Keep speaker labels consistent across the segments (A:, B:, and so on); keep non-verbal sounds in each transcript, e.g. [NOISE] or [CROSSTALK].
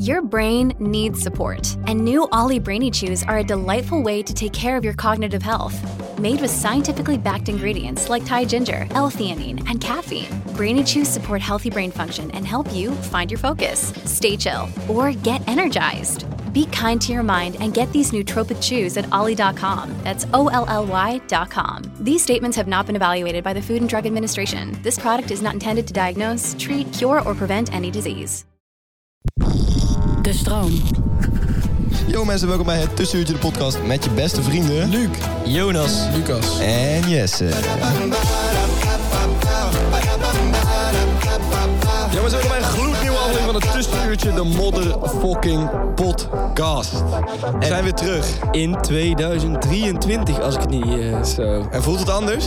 A: Your brain needs support, and new Ollie Brainy Chews are a delightful way to take care of your cognitive health. Made with scientifically backed ingredients like Thai ginger, L-theanine, and caffeine, Brainy Chews support healthy brain function and help you find your focus, stay chill, or get energized. Be kind to your mind and get these nootropic chews at ollie.com. That's O L L Y.com. These statements have not been evaluated by the Food and Drug Administration. This product is not intended to diagnose, treat, cure, or prevent any disease.
B: De stroom.
C: Yo mensen, welkom bij het Tussenuurtje de podcast met je beste vrienden... Luc, Jonas
D: Lucas.
C: en Jesse.
D: Ja, maar zo bij een gloednieuwe aflevering van het tussenuurtje, de motherfucking podcast.
C: We zijn weer terug.
D: In 2023, als ik het niet... eh, zo.
C: En voelt het anders?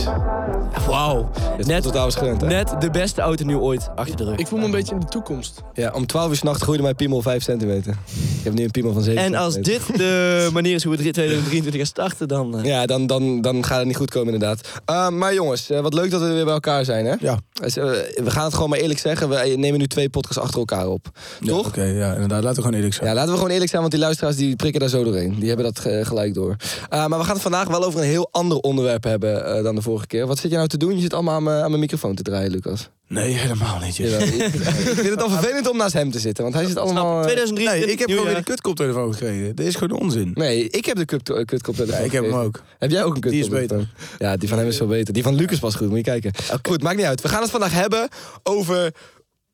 D: Wauw.
C: Net
D: Net,
C: tot ouders gewend, hè?
D: net de beste auto nieuw ooit achter de rug.
E: Ik voel me een beetje in de toekomst.
C: Ja, om 12 uur s'nachts groeide mijn piemel 5 centimeter. Ik heb nu een piemel van 7
D: En als
C: centimeter.
D: dit
E: [LAUGHS]
D: de manier is hoe we 2023 gaan starten, dan... eh,
C: Ja, dan, dan, dan gaat het niet goed komen inderdaad. Eh, maar jongens, eh, wat leuk dat we weer bij elkaar zijn, hè?
D: Ja.
C: Dus, eh, we gaan het gewoon maar eerlijk zeggen. We eh, nemen nu twee podcasts achter elkaar op.
E: Ja,
C: Toch?
E: Oké, ja, inderdaad. Laten we gewoon eerlijk zijn.
C: Ja, laten we gewoon eerlijk zijn, want die luisteraars die prikken daar zo doorheen. Die hebben dat eh, gelijk door. Eh, maar we gaan het vandaag wel over een heel ander onderwerp hebben eh, dan de vorige keer. Wat zit je nou te doen? Je zit allemaal aan mijn- aan mijn microfoon te draaien, Lucas.
E: Nee, helemaal niet.
C: Jawel,
E: Jesse.
C: ik, ik vind het al vervelend om naast hem te zitten, want hij zit allemaal... eh,
D: 2023,
E: Oh, Nee, ik heb
D: nieuw
E: gewoon weer de
D: jaar.
E: kutkoptelefoon gekregen. Dit is gewoon onzin.
C: Nee, ik heb de kut- eh, kutkoptelefoon.
E: Ja, ik heb hem
C: gekregen.
E: ook.
C: Heb jij ook een
E: Die is
C: kutkoptelefoon? beter. Ja, die van hem is veel beter. Die van Lucas was goed, moet je kijken. Goed, maakt niet uit. We gaan het vandaag hebben over...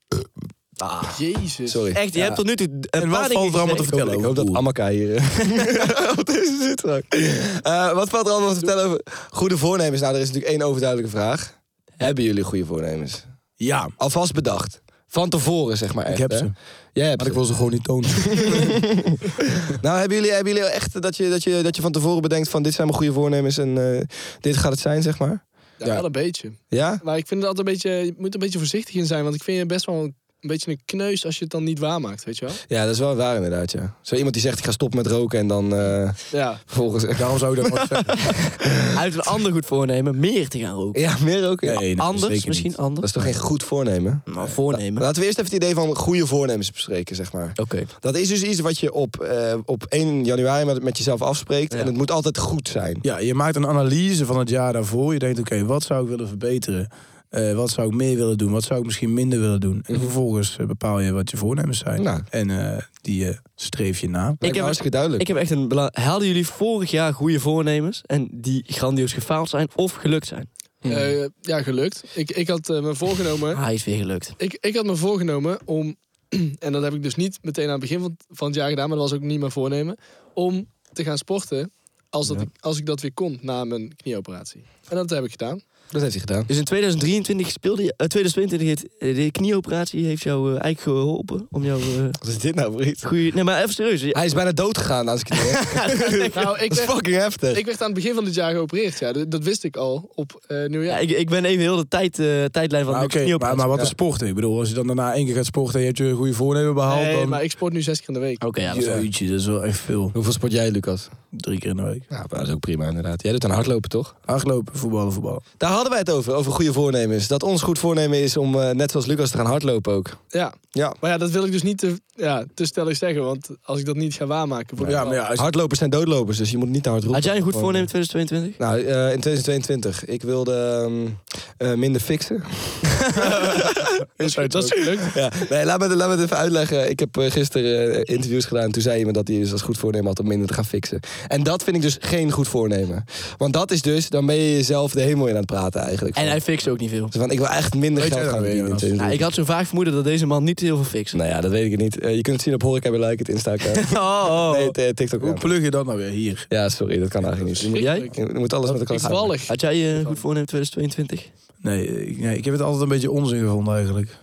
C: eh, ah,
E: Jezus.
C: Sorry.
D: Echt, je hebt tot nu toe een
E: En
D: paar
E: wat
D: dingen
E: valt er allemaal te
D: gezegd.
E: vertellen
C: Ik
E: over
C: hoop dat
E: Poel?
C: Amaka hier. eh, [LAUGHS] Op deze zit straks. Eh, wat valt er allemaal te vertellen over goede voornemens? Nou, er is natuurlijk één overduidelijke vraag. Hebben jullie goede voornemens?
E: Ja, maar
C: Alvast bedacht. Van tevoren, zeg maar. Echt,
E: heb
C: hè?
E: ze.
C: Jij hebt
E: ik
C: ze.
E: wil ze gewoon niet [LAUGHS] tonen.
C: Nou, hebben jullie, hebben jullie echt dat je, dat, je, dat je van tevoren bedenkt van dit zijn mijn goede voornemens en eh, dit gaat het zijn, zeg maar?
E: Ja,
C: Ja.
E: wel een beetje.
C: Ja?
F: Maar ik vind het altijd een beetje, je moet er een beetje voorzichtig in zijn, want ik vind je best wel een beetje een kneus als je het dan niet waarmaakt, weet je wel?
C: Ja, dat is wel waar inderdaad, ja. Zo iemand die zegt ik ga stoppen met roken en dan eh [LAUGHS]
F: Ja.
C: vervolgens... [LAUGHS]
E: Daarom zou ik dat nooit zeggen.
D: Uit een ander goed voornemen meer te gaan roken.
C: Ja, meer roken. ja.
E: Nee, dat is
D: Anders,
E: zeker
D: misschien
E: niet.
C: Dat
D: anders.
C: is toch geen goed voornemen?
D: Maar voornemen.
C: Laten we eerst even het idee van goede voornemens bespreken, zeg maar.
D: Oké.
C: Dat is dus iets wat je op, eh, op 1 januari met, met jezelf afspreekt.
D: Ja.
C: En het moet altijd goed zijn.
E: Ja, je maakt een analyse van het jaar daarvoor. Je denkt, oké, wat zou ik willen verbeteren? Eh, wat zou ik meer willen doen? Wat zou ik misschien minder willen doen? En vervolgens eh, bepaal je wat je voornemens zijn.
C: Nou.
E: En eh, die eh, streef je na.
C: Ik
D: heb-
C: heb hartstikke duidelijk.
D: Ik heb echt een bela- Hadden jullie vorig jaar goede voornemens en die grandioos gefaald zijn of gelukt zijn?
F: Eh, ja, gelukt. Ik, ik had eh, me voorgenomen,
D: Ah, hij is weer gelukt.
F: ik, ik had me voorgenomen om, [CLEARS THROAT] en dat heb ik dus niet meteen aan het begin van, van het jaar gedaan, maar dat was ook niet mijn voornemen, om te gaan sporten als, dat ik, als ik dat weer kon na mijn knieoperatie. En dat heb ik gedaan.
C: Dat heeft hij gedaan.
D: Dus in 2023 speelde je, eh, 2022 heeft, eh, de knieoperatie heeft jou eh, eigenlijk geholpen om jou eh
C: Wat is dit nou voor iets?
D: goede. Nee, maar even serieus. je-
C: Hij is bijna dood gegaan als ik het hoor.
F: Nou, ik
C: [LAUGHS] Dat is
F: werd,
C: fucking heftig.
F: ik werd aan het begin van dit jaar geopereerd, ja. Dat, dat wist ik al op eh,
D: Ja,
F: nieuwjaar.
D: ik, ik ben even heel de tijd, eh, tijdlijn van
E: Maar
D: de
E: oké, maar,
D: knieoperatie.
E: maar wat
C: ja.
E: is sporten? Ik bedoel, als je dan daarna één keer gaat sporten en je hebt je goede voornemen behaald.
F: Nee,
E: dan...
F: maar ik sport nu zes keer in de week.
D: Oké, ja, dat is wel-
E: Jeetje, dat is wel echt veel.
C: Hoeveel sport jij, Lucas?
E: Drie keer in de week.
C: Nou, dat is ook prima inderdaad. Jij doet aan hardlopen, toch?
E: Hardlopen, voetballen, voetballen.
C: Daar hadden wij het over, over goede voornemens. Dat ons goed voornemen is om, eh, net zoals Lucas, te gaan hardlopen ook.
F: Ja.
C: Ja.
F: Maar ja, dat wil ik dus niet te, ja, te stellig zeggen, want als ik dat niet ga waarmaken... wordt
E: Ja,
F: het
E: maar
F: wel-
E: ja, als
C: Hardlopers zijn doodlopers, dus je moet niet te hard roepen.
D: Had jij een goed
C: Gewoon-
D: voornemen in 2022?
C: Nou, eh, in 2022. Ik wilde ehm, eh, minder [LAUGHS] fixen.
F: Dat is gelukt.
C: Ja, nee, laat, me, laat me het even uitleggen. Ik heb eh, gisteren eh, interviews gedaan. Toen zei iemand dat hij dus als goed voornemen had om minder te gaan fixen. En dat vind ik dus geen goed voornemen. Want dat is dus, dan ben je jezelf de hemel in aan het praten eigenlijk.
D: En hij fixt ook niet veel.
C: Dus van, ik wil echt minder
E: Weet
C: geld
E: jij dat
C: gaan
E: weer,
C: verdienen. in
E: Jonas?
C: 2022.
D: Nou, ik had zo vaak vermoeden dat deze man niet heel veel fixt.
C: Nou ja, dat weet ik niet. Eh, je kunt het zien op Horeca bij Like, het
E: [LAUGHS]
C: Insta-account.
D: Oh, oh, oh.
C: Nee, t- eh, TikTok.
E: Hoe
C: account.
E: plug je dat nou weer hier?
C: Ja, sorry, dat kan eigenlijk niet.
D: Moet jij?
F: Ik-
C: Je moet alles met elkaar samen.
F: Toevallig.
D: Had jij eh, een goed voornemen in 2022?
E: Nee ik, nee, ik heb het altijd een beetje onzin gevonden eigenlijk.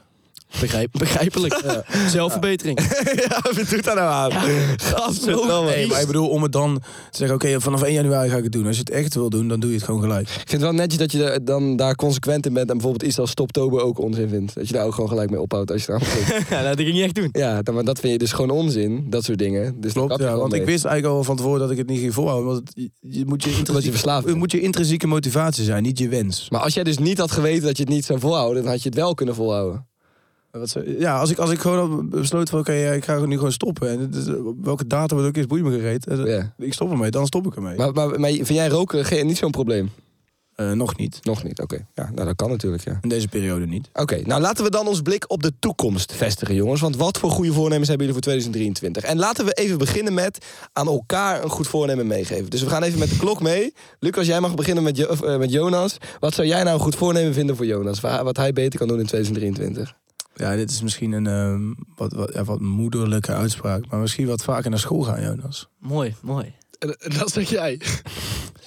D: Begrijp, begrijpelijk. [LAUGHS] Zelfverbetering.
C: [LAUGHS] ja, wat doet daar nou aan? [LAUGHS] Gadverdamme.
E: Nee, maar ik bedoel, om het dan te zeggen, oké, vanaf 1 januari ga ik het doen. Als je het echt wil doen, dan doe je het gewoon gelijk.
C: Ik vind het wel netjes dat je er dan daar consequent in bent en bijvoorbeeld iets als stoptober ook onzin vindt. Dat je daar ook gewoon gelijk mee ophoudt als je eraan
E: [LAUGHS]
C: begint.
D: ja, nou, dat ging je echt doen.
C: ja, dan, maar dat vind je dus gewoon onzin, dat soort dingen. Dus
E: Klopt, ja, want ik wist eigenlijk al van tevoren dat ik het niet ging volhouden. Want het- je, je moet je, intrinsieke,
C: je verslaafd
E: het
C: bent.
E: moet je intrinsieke motivatie zijn, niet je wens.
C: Maar als jij dus niet had geweten dat je het niet zou volhouden, dan had je het wel kunnen volhouden.
E: Wat ze- ja, als ik, als ik gewoon had besloten van, oké, ja, ik ga nu gewoon stoppen. En het is- welke datum het ook is, boeit me gereed. Eh,
C: Ja.
E: Ik stop ermee, dan stop ik ermee.
C: Maar, maar, maar vind jij roken geen- niet zo'n probleem?
E: Eh, nog niet.
C: Nog niet, oké. Ja, nou, dat kan natuurlijk, ja.
E: In deze periode niet.
C: Oké, nou laten we dan ons blik op de toekomst vestigen, jongens. Want wat voor goede voornemens hebben jullie voor 2023? En laten we even beginnen met aan elkaar een goed voornemen meegeven. Dus we gaan even met de klok mee. Lucas, jij mag beginnen met, Jo- of, eh, met Jonas. Wat zou jij nou een goed voornemen vinden voor Jonas? Wa- Wat hij beter kan doen in 2023?
E: Ja, dit is misschien een ehm, wat, wat, ja, wat moederlijke uitspraak. Maar misschien wat vaker naar school gaan, Jonas.
D: Mooi, mooi.
F: En, en dat zeg jij.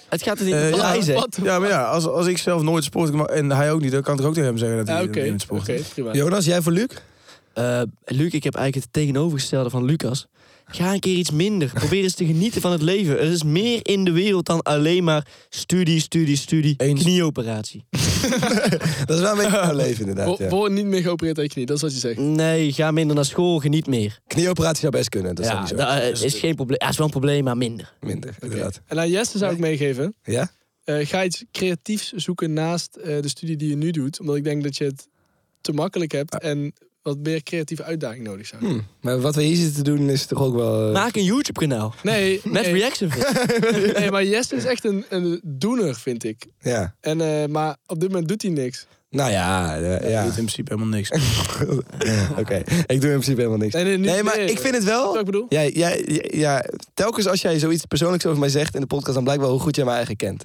D: Het gaat er niet
E: Eh,
D: om wat
E: ja,
D: hij zegt.
F: Wat?
E: Ja, maar ja, als, als ik zelf nooit sport maar- en hij ook niet, dan kan ik toch ook tegen hem zeggen dat hij
F: Ja,
E: niet
F: oké.
E: in het
F: Oké,
E: sport is.
F: prima.
C: Jonas, jij voor Luc?
D: Eh, Luc, ik heb eigenlijk het tegenovergestelde van Lucas. Ga een keer iets minder. Probeer eens te genieten van het leven. Er is meer in de wereld dan alleen maar studie, studie, studie,
E: Eens.
D: knieoperatie.
C: Dat is wel een beetje
E: [LAUGHS]
C: mijn leven inderdaad.
F: Wo-
C: Ja.
F: Word niet meer geopereerd aan je knie, dat is wat je zegt.
D: Nee, ga minder naar school, geniet meer.
C: Knieoperatie zou best kunnen, dat is
D: ja,
C: dan niet zo
D: dat eh, is geen probleem. Ja, is wel een probleem, maar minder.
C: minder, inderdaad.
F: En aan Jesse zou ik meegeven.
C: Ja?
F: eh, ga iets creatiefs zoeken naast eh, de studie die je nu doet. Omdat ik denk dat je het te makkelijk hebt en wat meer creatieve uitdaging nodig zou hebben.
C: Maar wat we hier zitten te doen is toch ook wel... eh,
D: Maak een YouTube-kanaal.
E: [LAUGHS]
F: Nee,
D: Met
F: nee,
D: reaction video's.
F: nee, maar Jesse is echt een, een doener, vind ik.
C: Ja.
F: En, eh, maar op dit moment doet hij niks.
C: Nou ja, eh,
E: Hij
C: ja.
E: doet in principe helemaal
C: [LAUGHS]
E: niks.
C: Oké, ik doe in principe helemaal niks.
F: Nee, nee, niet
C: maar
F: meer.
C: ik vind het wel.
F: Snap je wat ik bedoel?
C: Jij, jij, jij- ja, telkens als jij zoiets persoonlijks over mij zegt in de podcast, dan blijkt wel hoe goed jij mij eigenlijk kent.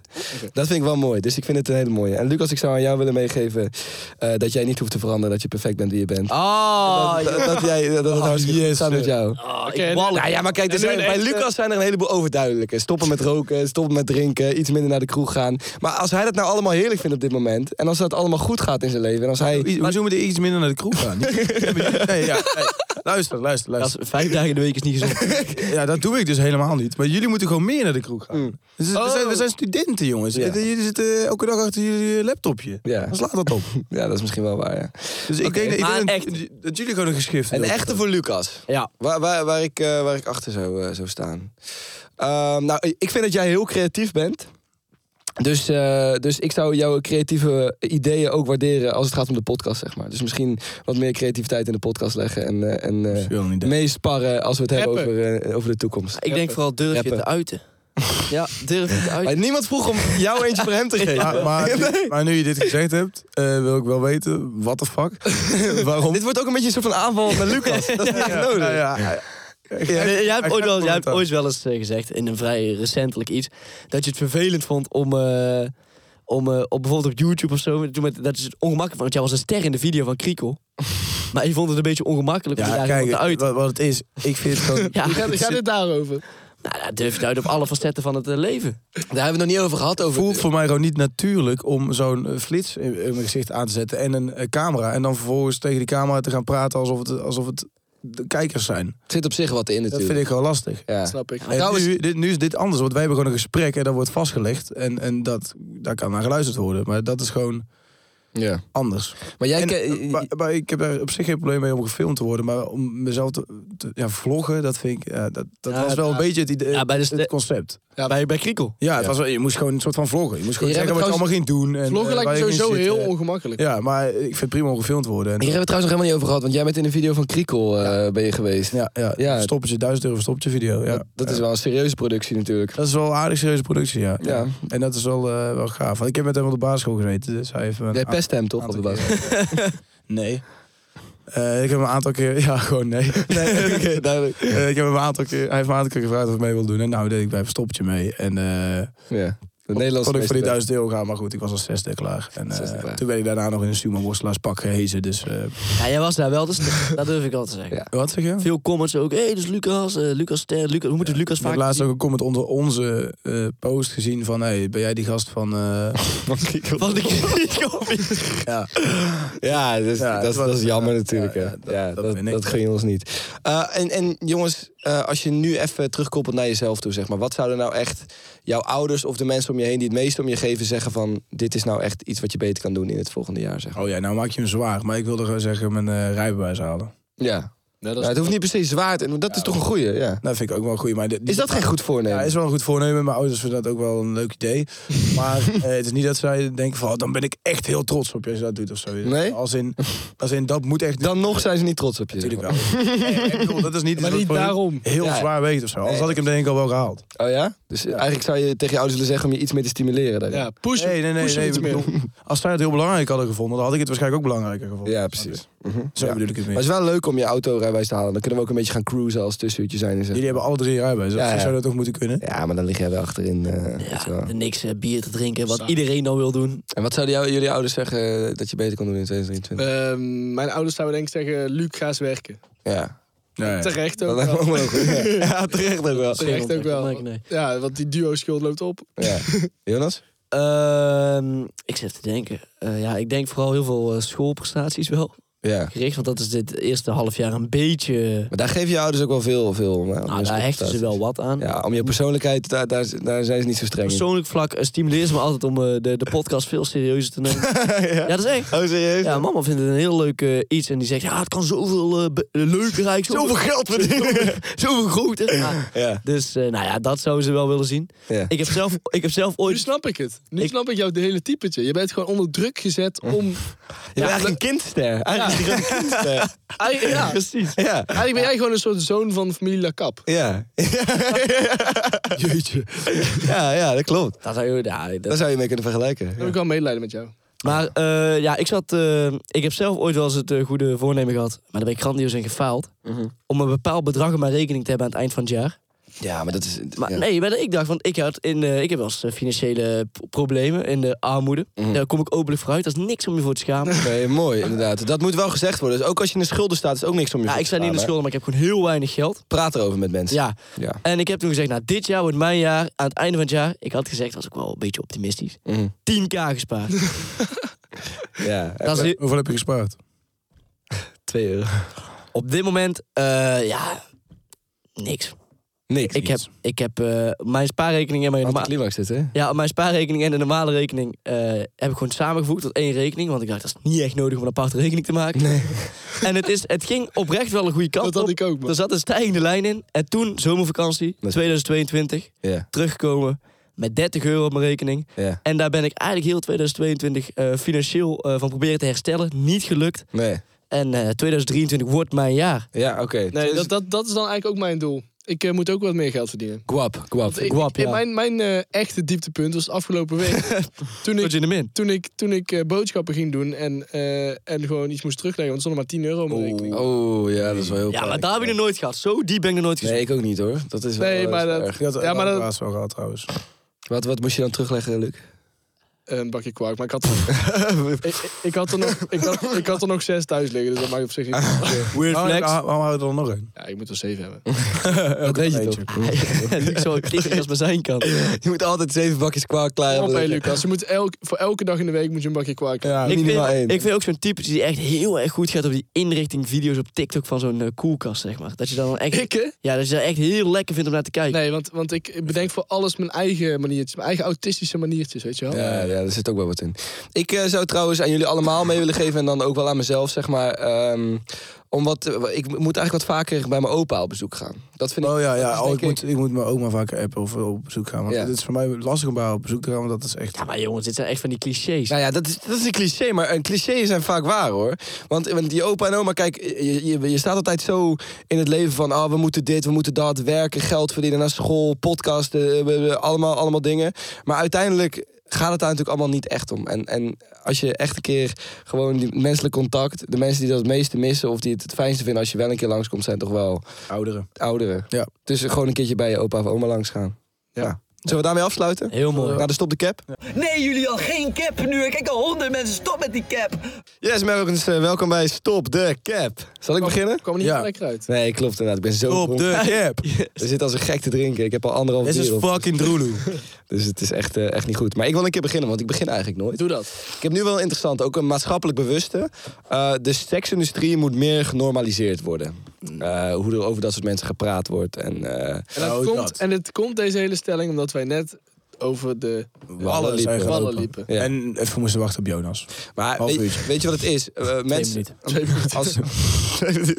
C: Dat vind ik wel mooi. Dus ik vind het een hele mooie. En Lucas, ik zou aan jou willen meegeven eh, dat jij niet hoeft te veranderen, dat je perfect bent wie je bent.
F: Ah,
D: Oh,
C: dat, dat, dat jij dat het hartstikke goed staat met jou.
D: oh, ik
F: Oké, nee,
D: walg.
C: Nou ja, maar kijk, er
F: En nu
C: zijn-
F: een
C: bij
F: echte-
D: eh,
C: Lucas zijn er een heleboel overduidelijke. Stoppen met roken, stoppen met drinken, iets minder naar de kroeg gaan. Maar als hij dat nou allemaal heerlijk vindt op dit moment, en als dat allemaal goed gaat in zijn leven, en als hij...
E: Hoe hoe zullen we er iets minder naar de kroeg
C: [LAUGHS]
E: gaan? Niet- nee, ja, nee. Luister, luister,
D: Dat is-
E: luister.
D: vijf dagen in de week is niet gezond.
E: Ja, dat doe ik dus helemaal niet. Maar jullie moeten gewoon meer naar de kroeg gaan. Dus we, zijn, we zijn studenten, jongens.
C: Hmm. Oh.
E: Eh,
C: Ja.
E: Jullie zitten elke dag achter jullie laptopje.
C: Ja.
E: Dan slaat dat op.
C: Ja, dat is misschien wel waar, ja.
E: Dus ik denk, dat- ik
D: maar
E: denk dat,
D: echt.
E: dat jullie gewoon een geschrift
C: Een
E: hebben.
C: [LAUGHS] echte voor Lucas.
D: [LAUGHS] Ja,
C: Waar, waar, waar, ik, eh, waar ik achter zou, eh, zou staan. Ehm, nou, ik vind dat jij heel creatief bent. Dus, eh, dus ik zou jouw creatieve ideeën ook waarderen als het gaat om de podcast, zeg maar. Dus misschien wat meer creativiteit in de podcast leggen en, eh, en eh,
E: is wel een idee.
C: meesparren als we het hebben
F: Rappen.
C: over, eh, over de toekomst.
D: ik denk vooral durf je te
C: Rappen.
D: uiten. Ja, durf je te
C: Maar
D: uiten.
C: niemand vroeg om jou eentje voor hem [LAUGHS] te geven.
E: Maar, maar, nu, maar nu je dit gezegd hebt, eh, wil ik wel weten, what the fuck? Waarom?
C: Dit wordt ook een beetje een soort van [LAUGHS] aanval naar Lucas. [LAUGHS] Dat is niet echt nodig.
E: Nou ja, ja.
D: Nee, jij hebt, ooit wel, jij hebt
E: commentaar.
D: ooit wel eens eh, gezegd, in een vrij recentelijk iets, dat je het vervelend vond om, eh, om eh, op, bijvoorbeeld op YouTube of zo, toen met- dat is het ongemakkelijk, want jij was een ster in de video van Krikel. Maar je vond het een beetje ongemakkelijk om je
E: Ja,
D: daar kijk,
E: kijk,
D: te uit.
E: wat, wat het is, ik vind het gewoon...
D: Ja,
F: Gaat, gaat het
E: Eh,
F: daarover?
D: nou, dat durf je uit op alle facetten van het eh, leven.
C: Daar hebben we het nog niet over gehad. Over
E: voelt voor mij gewoon niet natuurlijk om zo'n eh, flits in, in mijn gezicht aan te zetten en een eh, camera. En dan vervolgens tegen die camera te gaan praten alsof het, alsof het de kijkers zijn.
C: Er zit op zich wat in
E: Dat
C: natuurlijk.
E: vind ik gewoon lastig.
C: Ja.
F: Snap ik.
E: En
C: Trouwens-
E: nu, dit, nu is dit anders, want wij hebben gewoon een gesprek en dat wordt vastgelegd. En, en dat, daar kan naar geluisterd worden. Maar dat is gewoon
C: Ja.
E: anders.
C: Maar jij...
E: En,
C: ken-
E: eh, maar, maar ik heb daar op zich geen probleem mee om gefilmd te worden. Maar om mezelf te, te- ja, vloggen, dat vind ik. ja, dat dat
D: Ja,
E: was wel
D: ja.
E: een beetje het, idee,
D: Ja, bij de ste-
E: het concept.
D: Ja, bij, bij Krikel.
E: Ja, het Was wel, je moest gewoon een soort van vloggen. Je moest gewoon
C: Hier
E: zeggen wat je
C: hebben
E: allemaal
C: we
E: ging doen. En,
F: Vloggen
E: eh,
F: lijkt
E: waar
F: me
E: je ging
F: sowieso heel
E: zitten.
F: ongemakkelijk.
E: Ja, maar ik vind het prima om gefilmd te worden. En,
C: Hier hebben we het trouwens nog helemaal niet over gehad, want jij bent in een video van Kriekel eh, ben je geweest.
E: ja, ja,
C: Ja.
E: stoppetje, duizend euro verstoppertje video. Ja.
C: Dat, dat is wel een serieuze productie natuurlijk.
E: Dat is wel een aardig serieuze productie, ja.
C: Ja.
E: En dat is wel, eh, wel gaaf. Want ik heb met hem op de basisschool gezeten, dus hij heeft me een
C: Jij
E: aantal
C: pest hem toch op de baas? [LAUGHS]
E: keren- nee. Eh, ik heb hem een aantal keer... [LAUGHS] Ja, gewoon nee. nee
C: duidelijk.
E: Eh, ik heb hem een aantal keer, hij heeft me een aantal keer gevraagd of ik mee wil doen. En nou deed ik bij verstoppertje mee. En eh,
C: Ja. De Nederlandse
E: Kon ik voor die
C: meester.
E: 1000 euro gaan, maar goed, ik was als zesde klaar. En eh,
C: Zesde klaar.
E: toen werd ik daarna nog in een sumo worstenaarspak gehezen. Dus eh,
D: Ja, jij was daar wel, dus dat durf ik wel te zeggen.
C: Ja.
E: wat zeg je?
D: Veel comments ook. Hé, hey, dus Lucas, eh, Lucas Ster, Lucas. We moeten Lucas
E: Ik heb
D: vaak
E: laatst ook een comment onder onze eh, post gezien van... Hey, ben jij die gast van... eh,
D: Wat ik [LAUGHS] niet
E: ja,
C: Ja, dus,
E: Ja,
C: dat,
E: het
C: is-
E: was-
C: dat is jammer
E: ja,
C: natuurlijk.
E: ja,
C: hè.
E: ja,
C: Ja,
E: dat- dat
C: dat,
E: ben
C: dat,
E: ik dan.
C: gun je ons niet. Eh, en, en jongens, eh, als je nu even terugkoppelt naar jezelf toe, zeg maar. Wat zouden nou echt jouw ouders of de mensen om je heen die het meest om je geven zeggen van... dit is nou echt iets wat je beter kan doen in het volgende jaar, zeg maar.
E: oh ja, nou maak je hem zwaar. Maar ik wilde gewoon zeggen mijn eh, rijbewijs halen.
C: Ja,
F: Nou, dat
C: Ja,
F: is-
C: het hoeft niet per se zwaar te... Dat is toch een goeie, ja.
E: Dat vind ik ook wel goed. Maar de- die-
C: Is dat geen goed voornemen?
E: Ja, is wel een goed voornemen. Mijn ouders vinden dat ook wel een leuk idee. Maar eh, het is niet dat zij denken van... oh, dan ben ik echt heel trots op je als je dat doet of zo.
C: Nee?
E: Als in, als in dat moet echt...
C: Dan nog zijn ze niet trots op je.
E: Natuurlijk
C: zeg
E: wel. Nee, ik bedoel, dat is
F: [LAUGHS]
E: niet,
F: Maar
E: iets
F: niet
E: wat voor hun
F: daarom.
E: heel
C: Ja.
E: zwaar weet of zo. Anders had ik hem denk ik al wel gehaald.
C: maar. Oh ja? Dus eh, eigenlijk zou je tegen je ouders willen zeggen om je iets meer te stimuleren. daarin.
F: Ja, push hem,
E: Nee, nee, nee.
F: push hem
E: nee,
F: iets
E: ik
F: meer.
E: bedoel, als zij het heel belangrijk hadden gevonden, dan had ik het waarschijnlijk ook belangrijker gevonden.
C: Ja, precies.
E: Zo bedoel ik het
C: Maar
E: meer.
C: het is wel leuk om je autorijwijs te halen. Dan kunnen we ook een beetje gaan cruisen als tussenuurtje zijn. En zo.
E: Jullie hebben alle drie rijbewijs.
C: Ja,
E: Ja,
C: ja.
E: Zou dat toch moeten kunnen?
C: Ja, maar dan lig jij wel achterin. eh, weet je wel.
D: Ja, niks eh, bier te drinken, wat iedereen dan wil doen.
C: En wat zouden jou- jullie ouders zeggen eh, dat je beter kon doen in 2023?
F: Ehm, mijn ouders zouden denk ik zeggen, Luc, ga eens werken.
C: ja.
E: Nee.
F: Terecht
C: Dat
F: ook
C: lijkt me
F: wel.
C: ook wel goed. Ja. Ja, terecht ook wel.
F: [LAUGHS] Terecht ook wel.
D: Nee, nee.
F: Ja, want die duo-schuld loopt op.
C: Ja. Jonas?
D: Ehm, ik zit te denken. Eh, ja, ik denk vooral heel veel eh, schoolprestaties wel
C: Ja.
D: gericht. Want dat is dit eerste half jaar een beetje...
C: Maar daar geven je ouders ook wel veel, veel om. hè, om
D: Nou,
C: je
D: daar hechten ze
C: sportprestaties.
D: wel wat aan.
C: Ja, om je persoonlijkheid, daar, daar, daar zijn ze niet zo streng in.
D: Persoonlijk vlak eh, stimuleert ze me altijd om eh, de, de podcast veel serieuzer te nemen. [LAUGHS] ja. dat is echt.
C: Oh, serieus?
D: Ja, mama vindt het een heel leuk eh, iets. En die zegt, ja, het kan zoveel eh, be- leuker eigenlijk. Zoveel geld verdienen. [LAUGHS] zoveel groter. Ja.
C: Ja.
D: Dus, eh, nou ja, dat zouden ze wel willen zien.
C: Ja.
D: Ik heb zelf, ik heb zelf
F: [LAUGHS] Nu
D: ooit...
F: snap ik het. Nu
D: Ik-
F: snap ik jouw hele typetje. Je bent gewoon onder druk gezet om...
C: Je bent eigenlijk een kindster. Eigenlijk een grote kindster.
F: Eigen- ja,
D: Precies.
C: [LAUGHS] Ja.
F: eigenlijk ben jij gewoon een soort zoon van familie Lacap.
C: Ja. Jeetje. Ja, ja, dat klopt.
D: Dat zou je... Ja, dat-
C: Daar zou je mee kunnen vergelijken.
F: Dan heb ik wel medelijden met jou.
D: Maar eh, ja, ik zat. eh, ik heb zelf ooit wel eens het eh, goede voornemen gehad. Maar daar ben ik grandioos in gefaald. Om een bepaald bedrag op mijn rekening te hebben aan het eind van het jaar.
C: Ja, maar dat is...
D: Maar
C: ja.
D: nee, maar ik dacht, want ik, had in, eh, ik heb wel eens eh, financiële p- problemen in de armoede. Daar kom ik openlijk vooruit. Dat is niks om je voor
C: [LAUGHS]
D: te schamen.
C: Nee, mooi, inderdaad. Dat moet wel gezegd worden. Dus ook als je in de schulden staat, is ook niks om je
D: Ja,
C: voor
D: ik
C: te
D: sta niet in de
C: schamen,
D: schulden, maar ik heb gewoon heel weinig
C: [LAUGHS]
D: geld.
C: hè. Praat erover met mensen.
D: Ja.
C: Ja.
D: En ik heb toen gezegd, nou, dit jaar wordt mijn jaar. Aan het einde van het jaar, ik had gezegd, was ik wel een beetje optimistisch. 10k gespaard.
C: Mm. ja.
D: [LAUGHS] Dat is,
E: Hoeveel heb je gespaard?
C: 2 euro.
D: op dit moment, eh, ja, niks.
C: Niks.
D: Ik heb, ik heb eh, mijn spaarrekening en mijn, norma-
C: Anticlimax dit, hè?
D: ja, mijn spaarrekening en de normale rekening eh, heb ik gewoon samengevoegd tot één rekening. Want ik dacht, dat is niet echt nodig om een aparte rekening te maken. [LAUGHS] En het, is, het ging oprecht wel een goede kant
F: Dat had
D: op.
F: ik ook, man.
D: Er zat een stijgende lijn in. En toen, zomervakantie,
C: is-
D: 2022,
C: Ja.
D: teruggekomen met 30 euro op mijn rekening.
C: Ja.
D: En daar ben ik eigenlijk heel 2022 eh, financieel eh, van proberen te herstellen. Niet gelukt.
C: Nee.
D: En eh, 2023 wordt mijn jaar.
C: Ja, oké.
F: Nee,
C: dus-
F: dat, dat, dat is dan eigenlijk ook mijn doel. Ik eh, moet ook wat meer geld verdienen.
C: Guap, guap.
F: Ik-
D: Guap,
F: ik-
D: ja.
F: Mijn, mijn eh, echte dieptepunt was afgelopen week. toen
D: Tot
F: ik,
D: je in de min.
F: toen ik, toen ik eh, boodschappen ging doen en, eh, en gewoon iets moest terugleggen. Want er stond maar 10 euro op mijn rekening.
C: Oh, ja, dat is wel heel
D: Ja, maar
C: pijnlijk.
D: daar heb ik nog nooit gehad. Zo diep ben ik nog nooit gezien.
C: Nee, ik ook niet, hoor. Dat is wel...
F: Nee, maar
C: wel
F: dat-
C: erg.
E: Ik had
F: Ja,
E: ja,
F: maar dat-
E: laatst wel gehad trouwens.
C: Wat, wat moest je dan terugleggen,
D: [LAUGHS]
C: Luc?
F: Een bakje kwark. Maar ik had, ik, ik, ik had er nog, ik, had, ik had er nog 6 thuis liggen. Dus dat maakt op zich niet uit.
D: [LAUGHS] Weird
F: Ah,
E: Oh,
D: flex.
E: waarom houden we er nog een?
F: Ja, ik moet er 7 hebben.
C: dat weet je
E: eentje.
C: toch?
D: [LAUGHS] ik zou ik als maar zijn kan.
C: Je moet altijd zeven bakjes kwaad klaar
F: Kom op,
C: hebben.
F: hé, Lucas. Je moet elk, voor elke dag in de week moet je een bakje kwark hebben.
C: Ja,
D: Ik vind,
C: minimaal één.
D: ik vind ook zo'n type die echt heel erg goed gaat op die inrichting video's op TikTok van zo'n eh, koelkast, zeg maar. Dat je dan echt,
F: Ik, hè?
D: ja, dat je dat echt heel lekker vindt om naar te kijken.
F: Nee, want, want ik bedenk voor alles mijn eigen maniertjes. Mijn eigen autistische maniertjes, weet je wel.
C: Ja, ja, daar zit ook wel wat in. Ik eh, zou trouwens aan jullie allemaal mee willen geven en dan ook wel aan mezelf, zeg maar. ehm, om wat, ik moet eigenlijk wat vaker bij mijn opa op bezoek gaan. Dat vind ik.
E: Oh ja,
C: dat is
E: ja. Oh,
C: denk
E: ik,
C: ik-
E: moet, ik moet mijn oma vaker appen of op bezoek gaan. Want
C: Ja.
E: het is voor mij lastig om bij haar op bezoek te gaan, want dat is echt...
D: Ja, maar jongens, dit zijn echt van die clichés.
C: Nou ja, dat is, dat is een cliché, maar een cliché zijn vaak waar hoor. Want, want die opa en oma, kijk, je, je, je staat altijd zo in het leven van, ah, we moeten dit, we moeten dat, werken, geld verdienen, naar school, podcasten, eh, we- we- allemaal, allemaal dingen. Maar uiteindelijk gaat het daar natuurlijk allemaal niet echt om. En, en als je echt een keer gewoon die menselijk contact, de mensen die dat het meeste missen of die het het fijnste vinden als je wel een keer langskomt, zijn toch wel
E: Ouderen.
C: ouderen.
E: Ja.
C: Dus gewoon een keertje bij je opa of oma langs gaan.
F: Ja.
C: Zullen we daarmee afsluiten?
D: Heel mooi.
C: Naar de stop de cap.
G: Nee, jullie al geen cap nu. Ik kijk al honderd mensen. Stop met die cap.
C: Yes, Melkens, eh, welkom bij Stop de Cap. Zal ik beginnen?
F: Kwam er niet
E: Ja.
F: van lekker uit.
C: Nee, klopt inderdaad. Ik ben zo
E: Op
C: dronken. [LAUGHS]
E: de cap.
C: Er zit als een gek te drinken. Ik heb al anderhalf
E: Dit is
C: bier op.
E: fucking
C: [LAUGHS]
E: droeloe.
C: Dus het is echt, eh, echt niet goed. Maar ik wil een keer beginnen, want ik begin eigenlijk nooit.
F: Doe dat.
C: Ik heb nu wel interessant, ook een maatschappelijk bewuste. Eh, de seksindustrie moet meer genormaliseerd worden. Eh, hoe er over dat soort mensen gepraat wordt. En, eh,
F: En, dat
E: Nou,
F: komt,
E: dat.
F: en het komt deze hele stelling omdat wij net over de
C: Wallen liepen.
E: zijn gelopen.
F: ballen liepen.
C: Ja.
E: En even moesten wachten op Jonas.
C: maar
E: Half
C: weet,
E: uurtje.
C: weet je wat het is? Eh, mensen,
D: minuten.
C: als, [LAUGHS]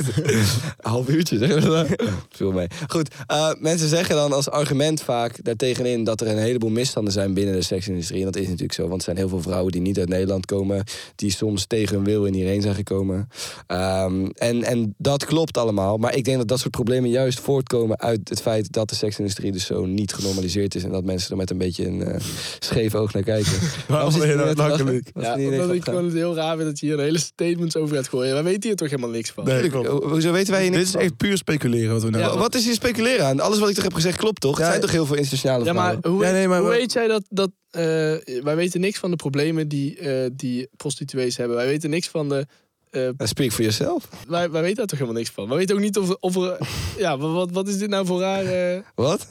C: half uurtje, zeg maar. dat? Viel mee. Goed, eh, mensen zeggen dan als argument vaak daartegenin dat er een heleboel misstanden zijn binnen de seksindustrie. En dat is natuurlijk zo, want er zijn heel veel vrouwen die niet uit Nederland komen, die soms tegen hun wil in hierheen zijn gekomen. Ehm, en, en dat klopt allemaal, maar ik denk dat dat soort problemen juist voortkomen uit het feit dat de seksindustrie dus zo niet genormaliseerd is en dat mensen er met een beetje een eh, scheef oog naar kijken. Waarom
E: ben je
C: zit
E: nou
C: net te lachen?
E: makkelijk?
C: Was
F: Ja,
C: er niet
F: omdat
C: ineens
F: ik
C: opgegaan?
F: gewoon het heel raar vind dat je hier hele statements over gaat gooien. Wij weten hier toch helemaal niks van.
C: [LAUGHS]
E: Nee,
C: Ho- Hoezo weten wij hier
E: Dit
C: niks
E: is
C: van?
E: echt puur speculeren wat we nou
C: Wa- Wat is hier speculeren aan? Alles wat ik toch heb gezegd klopt toch? Er
E: Ja,
C: zijn toch heel veel internationale
F: Ja, maar
C: vrouwen?
F: hoe,
E: Ja,
F: weet-
E: nee, maar
F: hoe
E: we-
F: weet jij dat... dat eh, wij weten niks van de problemen die, eh, die prostituees hebben. Wij weten niks van de... eh,
C: Nou, Speak for yourself.
F: wij, wij weten daar toch helemaal niks van. Wij weten ook niet of, of er...
C: [LAUGHS]
F: ja, wa- wat, wat is dit nou voor raar eh,
C: Wat?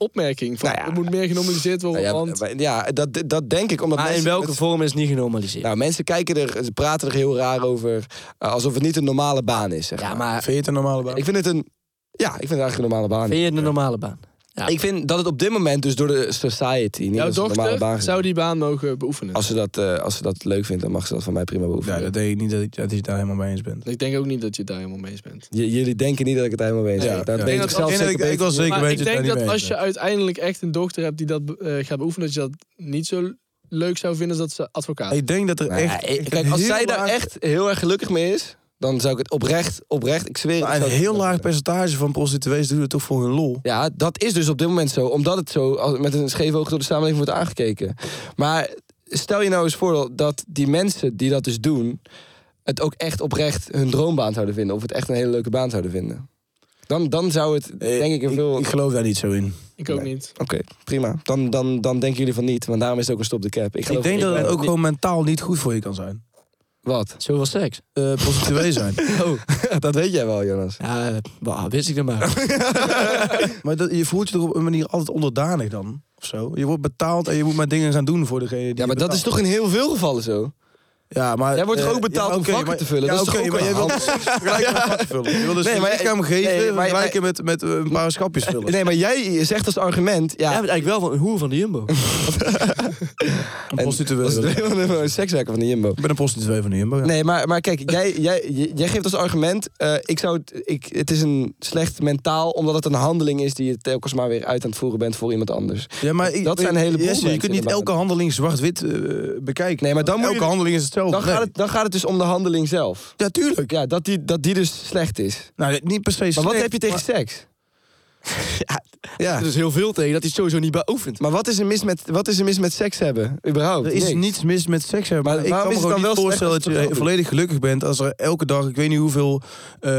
F: opmerking? Van,
C: Nou ja.
F: Het moet meer genormaliseerd worden,
C: Nou ja,
F: want...
C: maar- ja dat, dat denk ik. Omdat
D: Maar Ah, in
C: mensen
D: welke
C: met-
D: vorm is het niet genormaliseerd?
C: Nou, mensen kijken er, ze praten er heel raar over. eh, alsof het niet een normale baan is. Zeg
D: ja,
C: maar.
D: maar
E: Vind je het een normale baan?
C: Ik vind het een. Ja, ik vind het eigenlijk een normale baan.
D: vind je het een normale baan? ja.
C: Ik vind dat het op dit moment dus door de society niet
F: Jouw
C: als een normale baan
F: dochter
C: gezien
F: zou die baan mogen beoefenen.
C: wordt. Als ze, dat, eh, als ze dat leuk vindt, dan mag ze dat van mij prima beoefenen.
E: Ja, dat denk ik niet dat, ik- dat je het daar helemaal mee eens bent.
F: Ik denk ook niet dat je daar helemaal mee eens bent.
C: J- jullie denken niet dat ik het helemaal mee eens ben. Dat
E: ja.
C: weet
F: Ik
C: ik
F: denk
C: zelf
F: dat-
C: zeker
E: ik,
C: beter.
E: ik was zeker
F: Maar
E: weten
F: ik denk
E: dat, je het daar niet
F: dat
E: mee
F: als
E: eens
F: je
E: bent.
F: uiteindelijk echt een dochter hebt die dat eh, gaat beoefenen, dat je dat niet zo leuk zou vinden als dat ze advocaat.
E: Ik denk dat er
C: Nou ja,
E: echt...
C: ik- kijk, als
E: heel
C: zij daar
E: laag-
C: echt heel erg gelukkig mee is, dan zou ik het oprecht, oprecht, ik zweer het.
E: maar
C: ik
E: Een
C: zou het-
E: heel laag percentage van prostituees doet het toch voor hun lol.
C: Ja, dat is dus op dit moment zo, omdat het zo als- met een scheef oog door de samenleving wordt aangekeken. Maar stel je nou eens voor dat die mensen die dat dus doen, het ook echt oprecht hun droombaan zouden vinden, of het echt een hele leuke baan zouden vinden. Dan, dan zou het,
E: Eh,
C: denk ik, een veel.
E: ik
C: Oké,
E: geloof daar niet zo in.
F: Ik ook niet.
C: prima. Dan, dan, dan denken jullie van niet, want daarom is het ook een stop de cap. Ik,
E: Ik
C: geloof-
E: denk dat
C: ben-
E: het ook gewoon mentaal niet goed voor je kan zijn.
C: Wat? Oh.
D: Zoveel seks?
E: Eh, prostituee
C: [LAUGHS]
E: zijn.
C: dat weet jij wel, Jonas.
D: Ja, eh, wauw, wist ik dat maar.
C: [LAUGHS]
E: Maar dat, je voelt je er op een manier altijd onderdanig dan. Of zo. Je wordt betaald en je moet maar dingen gaan doen voor degene die
C: Ja, maar
E: je
C: dat is
E: betaalt.
C: toch in heel veel gevallen zo?
E: Ja, maar...
C: Jij wordt
E: eh,
C: toch ook betaald
E: ja,
C: om
E: oké,
C: vakken
E: maar-
C: te vullen?
E: Ja,
C: Dat is toch
E: oké,
C: ook
E: maar
C: een
E: jij
C: [LAUGHS]
E: wilt
C: hand?
E: seks vergelijken met vakken vullen. Je wil dus
C: Nee,
E: een
C: maar-
E: lichaam geven
C: nee, maar-
E: vergelijken met, met eh, een paar schapjes vullen.
C: [LAUGHS] Nee, maar jij zegt als argument, ja,
D: Jij bent eigenlijk wel van een hoer van de
C: [LAUGHS]
D: Jumbo.
C: En
E: Een
C: [LAUGHS]
E: prostituee.
C: Dat
E: wil
C: is
E: ik.
C: de een sekswerker van de Jimbo.
E: Ik ben een prostituee van de Jumbo. ja.
C: Nee, maar, maar kijk, jij, jij, j- jij geeft als argument... eh, ik zou het, ik, het is een slecht mentaal, omdat het een handeling is... die je telkens maar weer uit aan het voeren bent voor iemand anders.
E: Ja, maar ik-
C: Dat zijn een heleboel
E: Jesse, Je
C: mensen
E: kunt niet
C: inderdaad.
E: elke handeling zwart-wit eh, bekijken.
C: Nee, maar dan moet je
E: elke
C: dus-
E: handeling is hetzelfde.
C: Dan
E: Nee.
C: gaat het, dan gaat het dus om de handeling zelf.
E: Ja, tuurlijk.
C: Ja, dat die, dat die dus slecht is.
E: Nou, niet per se
C: Maar wat
E: slecht,
C: heb je tegen
E: maar-
C: seks?
D: Er is heel veel tegen dat hij het sowieso niet beoefent.
C: Maar wat is, er mis met, wat is er mis met seks hebben, überhaupt?
E: Er is
C: Niks.
E: niets mis met seks hebben.
C: Maar
E: Maar, ik
C: waarom
E: kan me
C: is het
E: gewoon
C: dan
E: niet
C: wel slecht
E: voorstellen
C: als
E: dat
C: je het wel
E: je
C: doet?
E: volledig gelukkig bent als er elke dag, ik weet niet hoeveel, eh,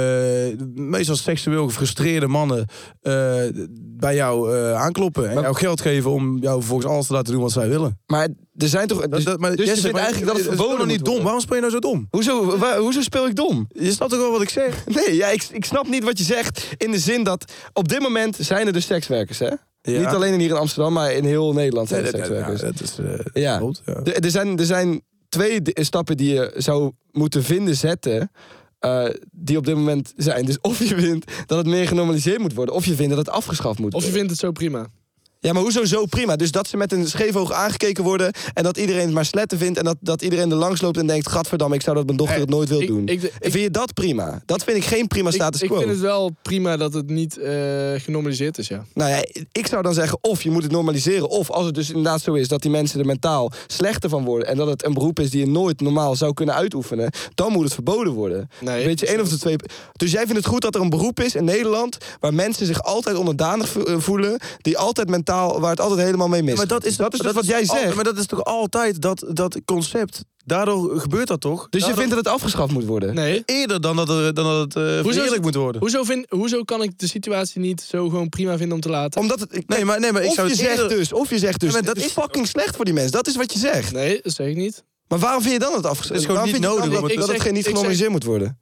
E: meestal seksueel gefrustreerde mannen eh, bij jou eh, aankloppen en
C: Maar-
E: jou geld geven om jou vervolgens alles te laten doen wat zij willen.
C: Maar er zijn toch... Dus,
E: dat, maar
C: dus je
E: Jesse,
C: vindt
E: maar-
C: eigenlijk dat het
E: is
C: verboden moet
E: helemaal niet dom.
C: worden?
E: Waarom speel je nou zo dom?
C: Hoezo, waar- hoezo speel ik dom?
E: Je snapt toch wel wat ik zeg?
C: [LAUGHS] Nee, ja, ik, ik snap niet wat je zegt. In de zin dat op dit moment zijn er dus sekswerkers, hè?
E: Ja.
C: Niet alleen hier in Amsterdam, maar in heel Nederland zijn
E: Nee,
C: er
E: dat, dat-
C: sekswerkers.
E: ja, dat is eh,
C: Ja.
E: klopt, ja.
C: Er- er, zijn, er zijn twee d- stappen die je zou moeten vinden zetten. eh, die op dit moment zijn. Dus of je vindt dat het meer genormaliseerd moet worden. of je vindt dat het afgeschaft moet
F: Of je
C: worden.
F: vindt het zo prima.
C: Ja, maar hoezo zo prima? Dus dat ze met een scheef oog aangekeken worden. en dat iedereen het maar sletten vindt. en dat, dat iedereen er langs loopt en denkt: Gadverdamme, ik zou dat mijn dochter het nooit wil
F: ik-
C: doen.
F: ik- ik-
C: vind je dat prima? Dat vind ik geen prima
F: Ik,
C: status
F: ik
C: quo.
F: vind het wel prima dat het niet eh, genormaliseerd is, ja.
C: Nou ja, ik zou dan zeggen, of je moet het normaliseren... of als het dus inderdaad zo is dat die mensen er mentaal slechter van worden... en dat het een beroep is die je nooit normaal zou kunnen uitoefenen... dan moet het verboden worden.
F: Nee,
C: Weet je, één of de
F: precies.
C: twee... Dus jij vindt het goed dat er een beroep is in Nederland... waar mensen zich altijd onderdanig vo- eh, voelen... die altijd totaal, waar het altijd helemaal mee mis.
E: Maar dat is,
C: dat is dus
E: dat
C: wat jij
E: al-
C: zegt.
E: maar dat is toch altijd dat, dat concept. Daardoor gebeurt dat toch?
C: dus je
E: Daardoor-
C: vindt dat het afgeschaft moet worden?
F: Nou, Nee.
E: Eerder dan dat, er, dan dat het eh verheerlijkt moet worden.
F: Hoezo, vind, hoezo kan ik de situatie niet zo gewoon prima vinden om te laten?
C: Omdat het, ik-
E: Nee, maar, nee, maar ik
C: of
E: zou
C: je
E: het
C: zegt
E: eerder-
C: dus, of je zegt dus,
E: Ja, maar
C: dat
E: dat
C: is
E: is-
C: fucking slecht voor die mensen. Dat is wat je zegt.
F: Nee, dat zeg ik niet.
C: Maar waarom vind je dan het afgeschaft?
E: Het is gewoon
C: waarom
E: niet
C: vind je dan
E: nodig om
C: dat,
F: het-
C: dat
F: Ik
C: het
F: zeg-
C: niet
F: ik zeg-
C: genormaliseerd moet worden?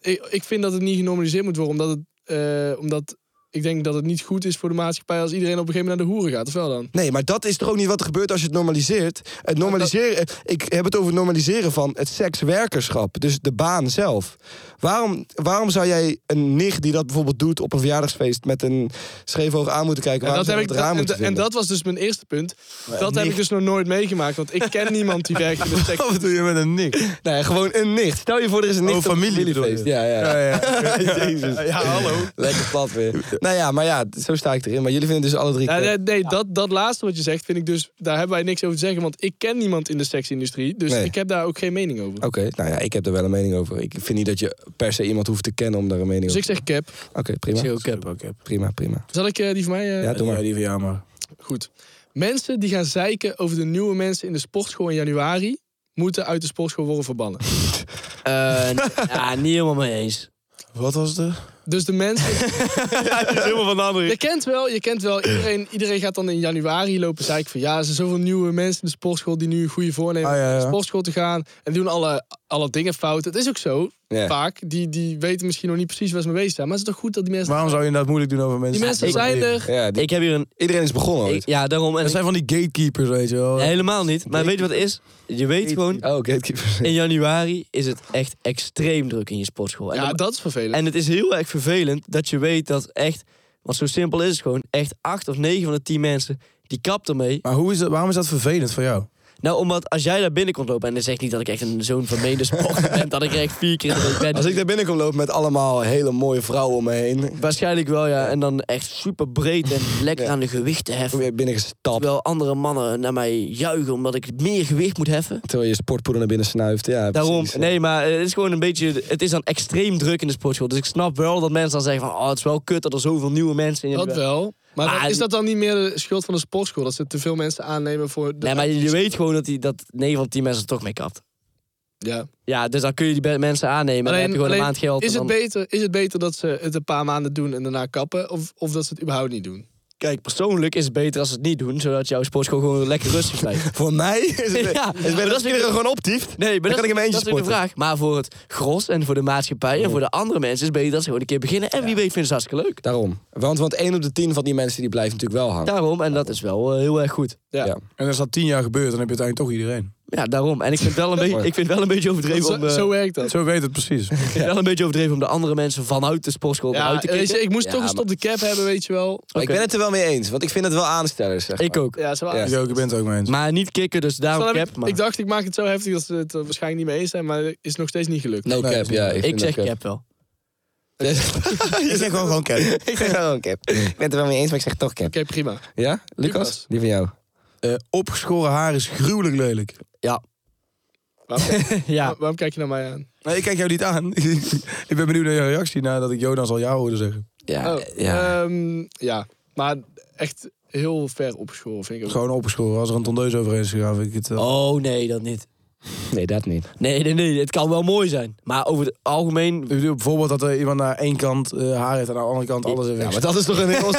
F: ik, ik vind dat het niet genormaliseerd moet worden, omdat, het, eh, omdat ik denk dat het niet goed is voor de maatschappij als iedereen op een gegeven moment naar de hoeren gaat, of wel dan?
C: Nee, maar dat is toch ook niet wat er gebeurt als je het normaliseert? Het normaliseren, ik heb het over het normaliseren van het sekswerkerschap. Dus de baan zelf. Waarom, waarom zou jij een nicht die dat bijvoorbeeld doet op een verjaardagsfeest... met een scheef oog aan moeten kijken?
F: En
C: waarom
F: dat,
C: zou
F: heb ik,
C: je dat raar
F: en,
C: moeten
F: en
C: vinden?
F: dat was dus mijn eerste punt. dat heb
C: niet.
F: ik dus nog nooit meegemaakt, want ik ken
C: [LAUGHS]
F: niemand die werkt in de seks.
C: Oh,
E: [LAUGHS] Wat doe je met een nick?
C: Nee, gewoon een nicht. Stel je voor, er is een nicht
E: Oh,
C: op een
E: familie bedoel je?
C: familiefeest. Ja, ja.
E: Ja, ja.
C: [LAUGHS] Jezus.
E: ja, hallo.
C: Lekker plat weer. Nou ja, maar ja, zo sta ik erin. Maar jullie vinden dus alle drie...
F: Ja,
C: kut.
F: nee, nee, dat, dat laatste wat je zegt, vind ik dus, daar hebben wij niks over te zeggen, want ik ken niemand in de seksindustrie, dus
C: Nee.
F: ik heb daar ook geen mening over.
C: Oké, nou ja, ik heb er wel een mening over. Ik vind niet dat je per se iemand hoeft te kennen om daar een mening
F: Dus
C: over
F: ik
C: te
F: zeg cap.
C: Oké, prima.
D: Chill cap.
C: Prima, prima.
F: Zal ik eh, die van mij? eh,
C: Ja, doe maar.
E: Ja, die van jou maar.
F: Goed. Mensen die gaan zeiken over de nieuwe mensen in de sportschool in januari, moeten uit de sportschool worden verbannen.
D: Eh, n- ja, niet helemaal mee eens.
E: Wat was het er?
F: Dus de mensen
D: Helemaal van de andere.
F: Je kent wel, je kent wel. Iedereen, iedereen gaat dan in januari lopen zeiken van... ja, er zijn zoveel nieuwe mensen in de sportschool... die nu goede voornemen
E: Ah, ja,
F: hebben
E: ja.
F: naar de sportschool te gaan. En doen alle, alle dingen fout. Het is ook zo,
C: Ja.
F: vaak. Die, die weten misschien nog niet precies waar ze mee bezig zijn. Maar het is toch goed dat die mensen...
E: Waarom zou je dat moeilijk doen over mensen?
F: Die mensen
E: Ik-
F: zijn er.
C: Ja, die-
D: Ik heb hier een...
C: Iedereen is begonnen
D: ik-
C: ooit.
D: ja, daarom. En
E: Dat zijn van die gatekeepers, weet je wel.
D: helemaal niet. Maar weet je wat het is? Je weet gewoon...
C: Oh, gatekeepers.
D: In januari is het echt extreem druk in je sportschool. En
F: Ja,
D: dan-
F: dat is vervelend.
D: En het is heel erg vervelend dat je weet dat echt, want zo simpel is het gewoon, echt acht of negen van de tien mensen die kapt ermee.
E: Maar hoe is dat, waarom is dat vervelend voor jou?
D: Nou, omdat als jij daar binnen komt lopen, en dan zeg ik niet dat ik echt een zo'n vermeende sporter ben, dat ik er echt vier keer in de week ben.
C: Als ik daar binnen kom lopen met allemaal hele mooie vrouwen om me heen.
D: Waarschijnlijk wel, ja. En dan echt super breed en lekker aan de gewichten
C: Ik
D: heffen.
C: ben binnengestapt.
D: Terwijl andere mannen naar mij juichen omdat ik meer gewicht moet heffen.
C: Terwijl je sportpoeder naar binnen snuift. Ja,
D: Daarom,
C: precies.
D: nee, maar eh, het is gewoon een beetje, het is dan extreem druk in de sportschool. Dus ik snap wel dat mensen dan zeggen van, oh, het is wel kut dat er zoveel nieuwe mensen in
F: dat wel. Maar
D: Ah,
F: dan- is
D: en-
F: dat dan niet meer de schuld van de sportschool? Dat ze te veel mensen aannemen voor... De...
D: Nee, maar je weet gewoon dat, die, dat 9 van 10 mensen er toch mee kapt.
F: Ja.
D: Ja, dus dan kun je die be- mensen aannemen en dan heb je gewoon een maand geld.
F: is,
D: en
F: het
D: dan-
F: beter, is het beter dat ze het een paar maanden doen en daarna kappen? Of, of dat ze het überhaupt niet doen?
D: Kijk, persoonlijk is het beter als ze het niet doen, zodat jouw sportschool gewoon lekker
C: [LAUGHS]
D: rustig blijft.
C: Voor mij is het,
D: [LAUGHS]
F: [LAUGHS]
D: Ja,
C: ja,
D: maar
C: is het dat
D: dat is
C: iedereen gewoon optieft.
D: Nee, maar
C: Dan
D: dat,
C: kan ik in mijn eentje
D: dat is weer de
C: sporten.
D: vraag. Maar voor het gros en voor de maatschappij en voor de andere mensen is het beter dat ze gewoon een keer beginnen. En wie weet vinden ze het hartstikke leuk.
C: Daarom. Want, want 1 op de 10 van die mensen die blijft natuurlijk wel hangen.
D: Daarom, en dat is wel eh, heel erg goed.
F: Ja.
C: Ja.
E: En als dat tien jaar gebeurt, dan heb je uiteindelijk toch iedereen.
D: Ja, daarom. En ik vind het
C: [LAUGHS]
D: wel een, beetje- ik vind het wel een beetje overdreven
F: Zo,
D: om... eh,
F: zo werkt dat.
E: Zo weet het precies.
D: ik vind het wel een beetje overdreven om de andere mensen vanuit de sportschool
F: Ja,
D: eruit te
F: weet
D: kicken.
F: je, ik moest
C: Ja,
F: toch een stop de cap hebben, weet je wel.
D: Oh,
C: Maar Ik ben het er wel mee eens, want ik vind het wel aanstellers. Zeg
D: Ik
C: maar. [LAUGHS]
D: ook.
F: Ja, ze waren.
C: Ja.
E: Ik ook, ik ben het ook mee eens.
D: Maar niet kicken, dus
F: Dus
D: daarom
F: dan heb
D: cap.
F: ik,
D: maar
F: ik dacht, ik maak het zo heftig dat ze het er waarschijnlijk niet mee eens zijn, maar is nog steeds niet gelukt.
C: No
E: Nee,
C: cap, ja. Ik,
D: ik
C: vind
D: zeg
C: dat
D: cap wel.
C: je zegt gewoon, gewoon cap. ik zeg gewoon cap. Ik ben het er wel mee eens, maar ik zeg toch cap.
F: Oké, prima.
C: Ja, Lucas?
F: Lucas.
C: Die van jou.
E: Eh, opgeschoren haar is gruwelijk lelijk.
D: Ja.
F: Waarom,
D: [LAUGHS] Ja,
F: waar- waarom kijk je naar mij aan?
E: Nee, ik kijk jou niet aan. [LAUGHS] ik ben benieuwd naar je reactie nadat ik Jonas al jou hoorde zeggen.
C: Ja,
F: Oh,
C: ja.
F: ehm, ja. Maar echt heel ver opgeschoren, vind ik ook.
E: Gewoon opgeschoren. Als er een tondeus overheen is gegaan, vind ik het... eh, wel-
D: Oh nee, dat niet.
C: Nee, dat niet.
D: Nee, nee, nee. Het kan wel mooi zijn. Maar over het algemeen
E: Ik bedoel, bijvoorbeeld dat er iemand naar één kant eh, haar heeft en aan de andere kant alles heeft.
C: Ja, maar dat is toch een heel [LAUGHS]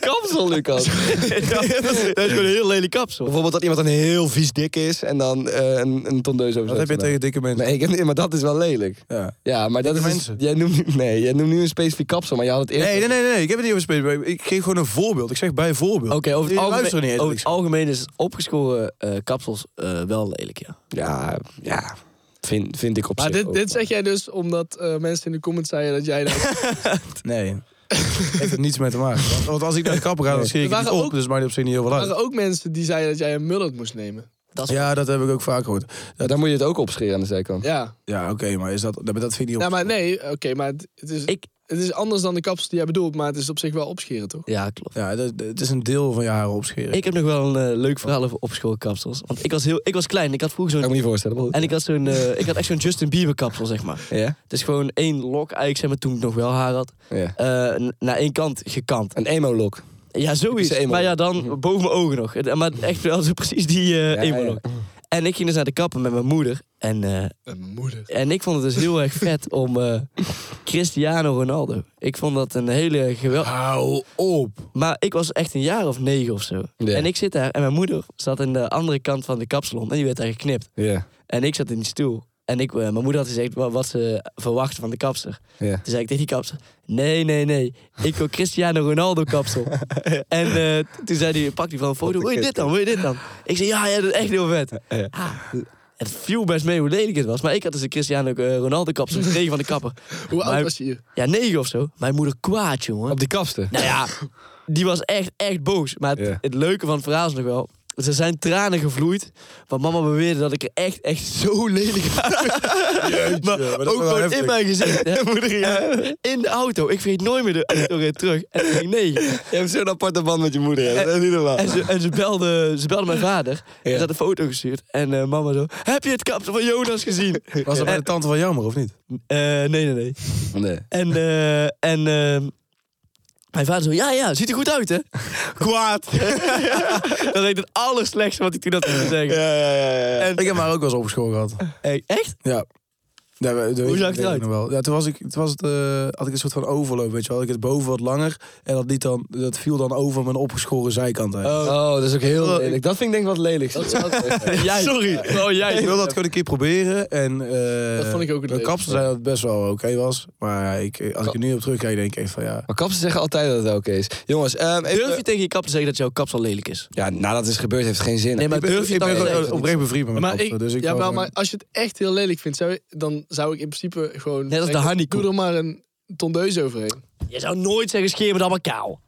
C: kapsel, [LAUGHS] Lucas?
D: [LAUGHS] dat is gewoon een heel lelijk kapsel.
C: Bijvoorbeeld dat iemand een heel vies dik is en dan eh, een, een tondeus over
E: Wat
C: zijn
E: heb je
C: geluid.
E: tegen dikke mensen?
C: Nee, ik heb, niet- maar dat is wel lelijk.
E: Ja.
C: Ja, maar dat is...
E: Dikke mensen.
C: Jij noemt, nu- nee, jij noemt nu een specifiek kapsel, maar je had het eerst...
E: Nee, nee, nee, nee, Ik heb het niet over spelen. Ik geef gewoon een voorbeeld. Ik zeg bijvoorbeeld.
D: Oké, over, het
E: Jullie
D: algemeen-
E: luisteren niet.
D: over
E: eens.
D: het algemeen is opgeschoren eh, kapsels eh, wel lelijk, ja.
C: Ja, ja. Vind, vind ik op
F: Maar
C: zich
F: dit,
C: ook
F: dit
C: wel.
F: zeg jij dus omdat eh, mensen in de comments zeiden dat
D: [LAUGHS]
F: jij dat...
E: Nee. [LAUGHS] heeft er niets mee te maken. Want, want als ik naar de kapper ga, dan zie ik
F: Er
E: het niet
F: waren
E: op.
F: ook-
E: Dus het maakt op zich niet heel veel
F: Er waren
E: uit.
F: ook mensen die zeiden dat jij een mullet moest nemen.
E: Ja, dat heb ik ook vaak gehoord.
C: Ja, dan moet je het ook opscheren aan de zijkant.
F: Ja.
E: Ja, oké, maar is dat, dat dat vind ik niet op.
F: Ja, maar nee, oké, maar het, het is,
D: Ik-
F: het is anders dan de kapsel die jij bedoelt, maar het is op zich wel opscheren, toch?
D: Ja, klopt.
E: Ja, dat, dat- het is een deel van je haren opscheren.
D: Ik heb nog wel een eh, leuk verhaal over opgeschoren kapsels. Want ik was, heel, ik was klein. Ik had vroeger
C: Dat
D: zo'n...
C: moet je je voorstellen, maar goed.
D: En ik had, zo'n, eh, ik had echt zo'n Justin Bieber kapsel, zeg maar.
C: Ja?
D: Het is gewoon één lok, eigenlijk, zeg maar, toen ik nog wel haar had.
C: Ja.
D: eh, n- naar één kant gekant.
C: Een emo-lok.
D: Ja,
C: Typische
D: zoiets.
C: emo.
D: Maar ja, dan boven mijn ogen nog. Eh, Maar echt wel zo [LAUGHS] precies die eh
C: Mhm. Ja,
D: emo
C: ja.
D: nog. En ik ging dus naar de kapper met mijn moeder. En, eh,
F: En mijn moeder.
D: en ik vond het dus heel erg vet om eh, Cristiano Ronaldo. Ik vond dat een hele geweldige...
E: Hou op.
D: Maar ik was echt een jaar of negen of zo.
C: Ja.
D: En ik zit daar en mijn moeder zat aan de andere kant van de kapsalon. En die werd daar geknipt.
C: Ja,
D: En ik zat in die stoel. En ik, eh, mijn moeder had gezegd wa- wat ze verwachtte van de kapster.
C: ja.
D: Toen zei ik tegen die kapster: Nee, nee, nee. Ik wil Cristiano Ronaldo
F: [LAUGHS]
D: kapsel. en eh, toen zei hij: Pak die van een foto. Wil je dit dan? Wil je dit dan? Ik zei: Ja, ja, dat is echt heel vet. Ah, het viel best mee hoe lelijk het was. Maar ik had dus een Cristiano eh, Ronaldo kapsel gekregen van de kapper.
F: [LAUGHS] Hoe oud
D: Maar-
F: was je?
D: Ja, negen of zo. Mijn moeder kwaad, jongen.
C: Op die kapster.
D: Nou ja, die was echt, echt boos. Maar het,
C: Ja.
D: het leuke van het verhaal is nog wel... Ze zijn tranen gevloeid, want mama beweerde dat ik er echt, echt zo lelijk uit. Maar
E: maar dat is
D: ook
E: wel
D: gewoon
E: heftig.
D: in mijn gezicht.
E: [LAUGHS]
D: hè. in de auto. Ik vergeet nooit meer de auto weer terug. En ik ging nee.
C: Je hebt zo'n aparte band met je moeder. hè. Dat is niet
E: Ah.
C: normaal.
D: En, ze, en ze, belde, ze belde mijn vader. Ze had een foto gestuurd. En eh, mama zo, heb je het kapsel van Jonas gezien?
E: Was dat bij de tante van jammer, of niet?
D: Eh, nee, nee, nee.
C: Nee.
D: En, eh, en eh, mijn vader zo, ja, ja, ziet er goed
C: [LAUGHS]
D: uit, hè? Kwaad. [LAUGHS] dat is echt het allerslechtste wat ik toen had kunnen zeggen.
C: Ja, ja, ja. ja.
D: En,
E: Ik heb haar ook wel eens opgeschoren gehad.
D: Hey, echt?
E: Ja. Ja, we- dat weet
D: zag
E: ik-
D: het
E: weet ik
D: eruit?
E: nog Wel. Ja, toen was ik, toen was het, eh, had ik een soort van overloop, weet je wel. Had ik het boven wat langer en dat, liet dan, dat viel dan over mijn opgeschoren zijkant. heen.
C: Oh, dat is ook heel lelijk. Dat vind ik denk ik wat lelijk.
D: [LAUGHS] Jij. Sorry. Oh, jij.
E: Ik wil dat gewoon een keer proberen. En, eh,
F: Dat vond ik ook het
E: De
F: leukste.
E: kapsel zei dat het best wel oké was. Maar ik, als ik er nu op terugkijk, denk ik echt van ja.
C: Maar kapsters zeggen altijd dat het oké is. Jongens, ehm even-
D: Durf je tegen je kapper te zeggen dat jouw kapsel lelijk is?
C: Ja, nadat het is gebeurd heeft het geen zin.
D: Nee, maar durf je
E: Ik
D: het dan
E: ben
D: te
E: ook
D: zeggen?
E: oprecht bevriend met mijn
F: Maar,
E: kapsel.
F: ik,
E: dus ik
F: ja,
E: wou
F: wel,
E: gewoon-
F: maar als je het echt heel lelijk vindt, zou je- dan zou ik in principe gewoon...
D: Net als de
F: zeggen,
D: honeycomb.
F: Doe er maar een tondeus overheen.
D: Je zou nooit zeggen, scheer me dan maar kaal.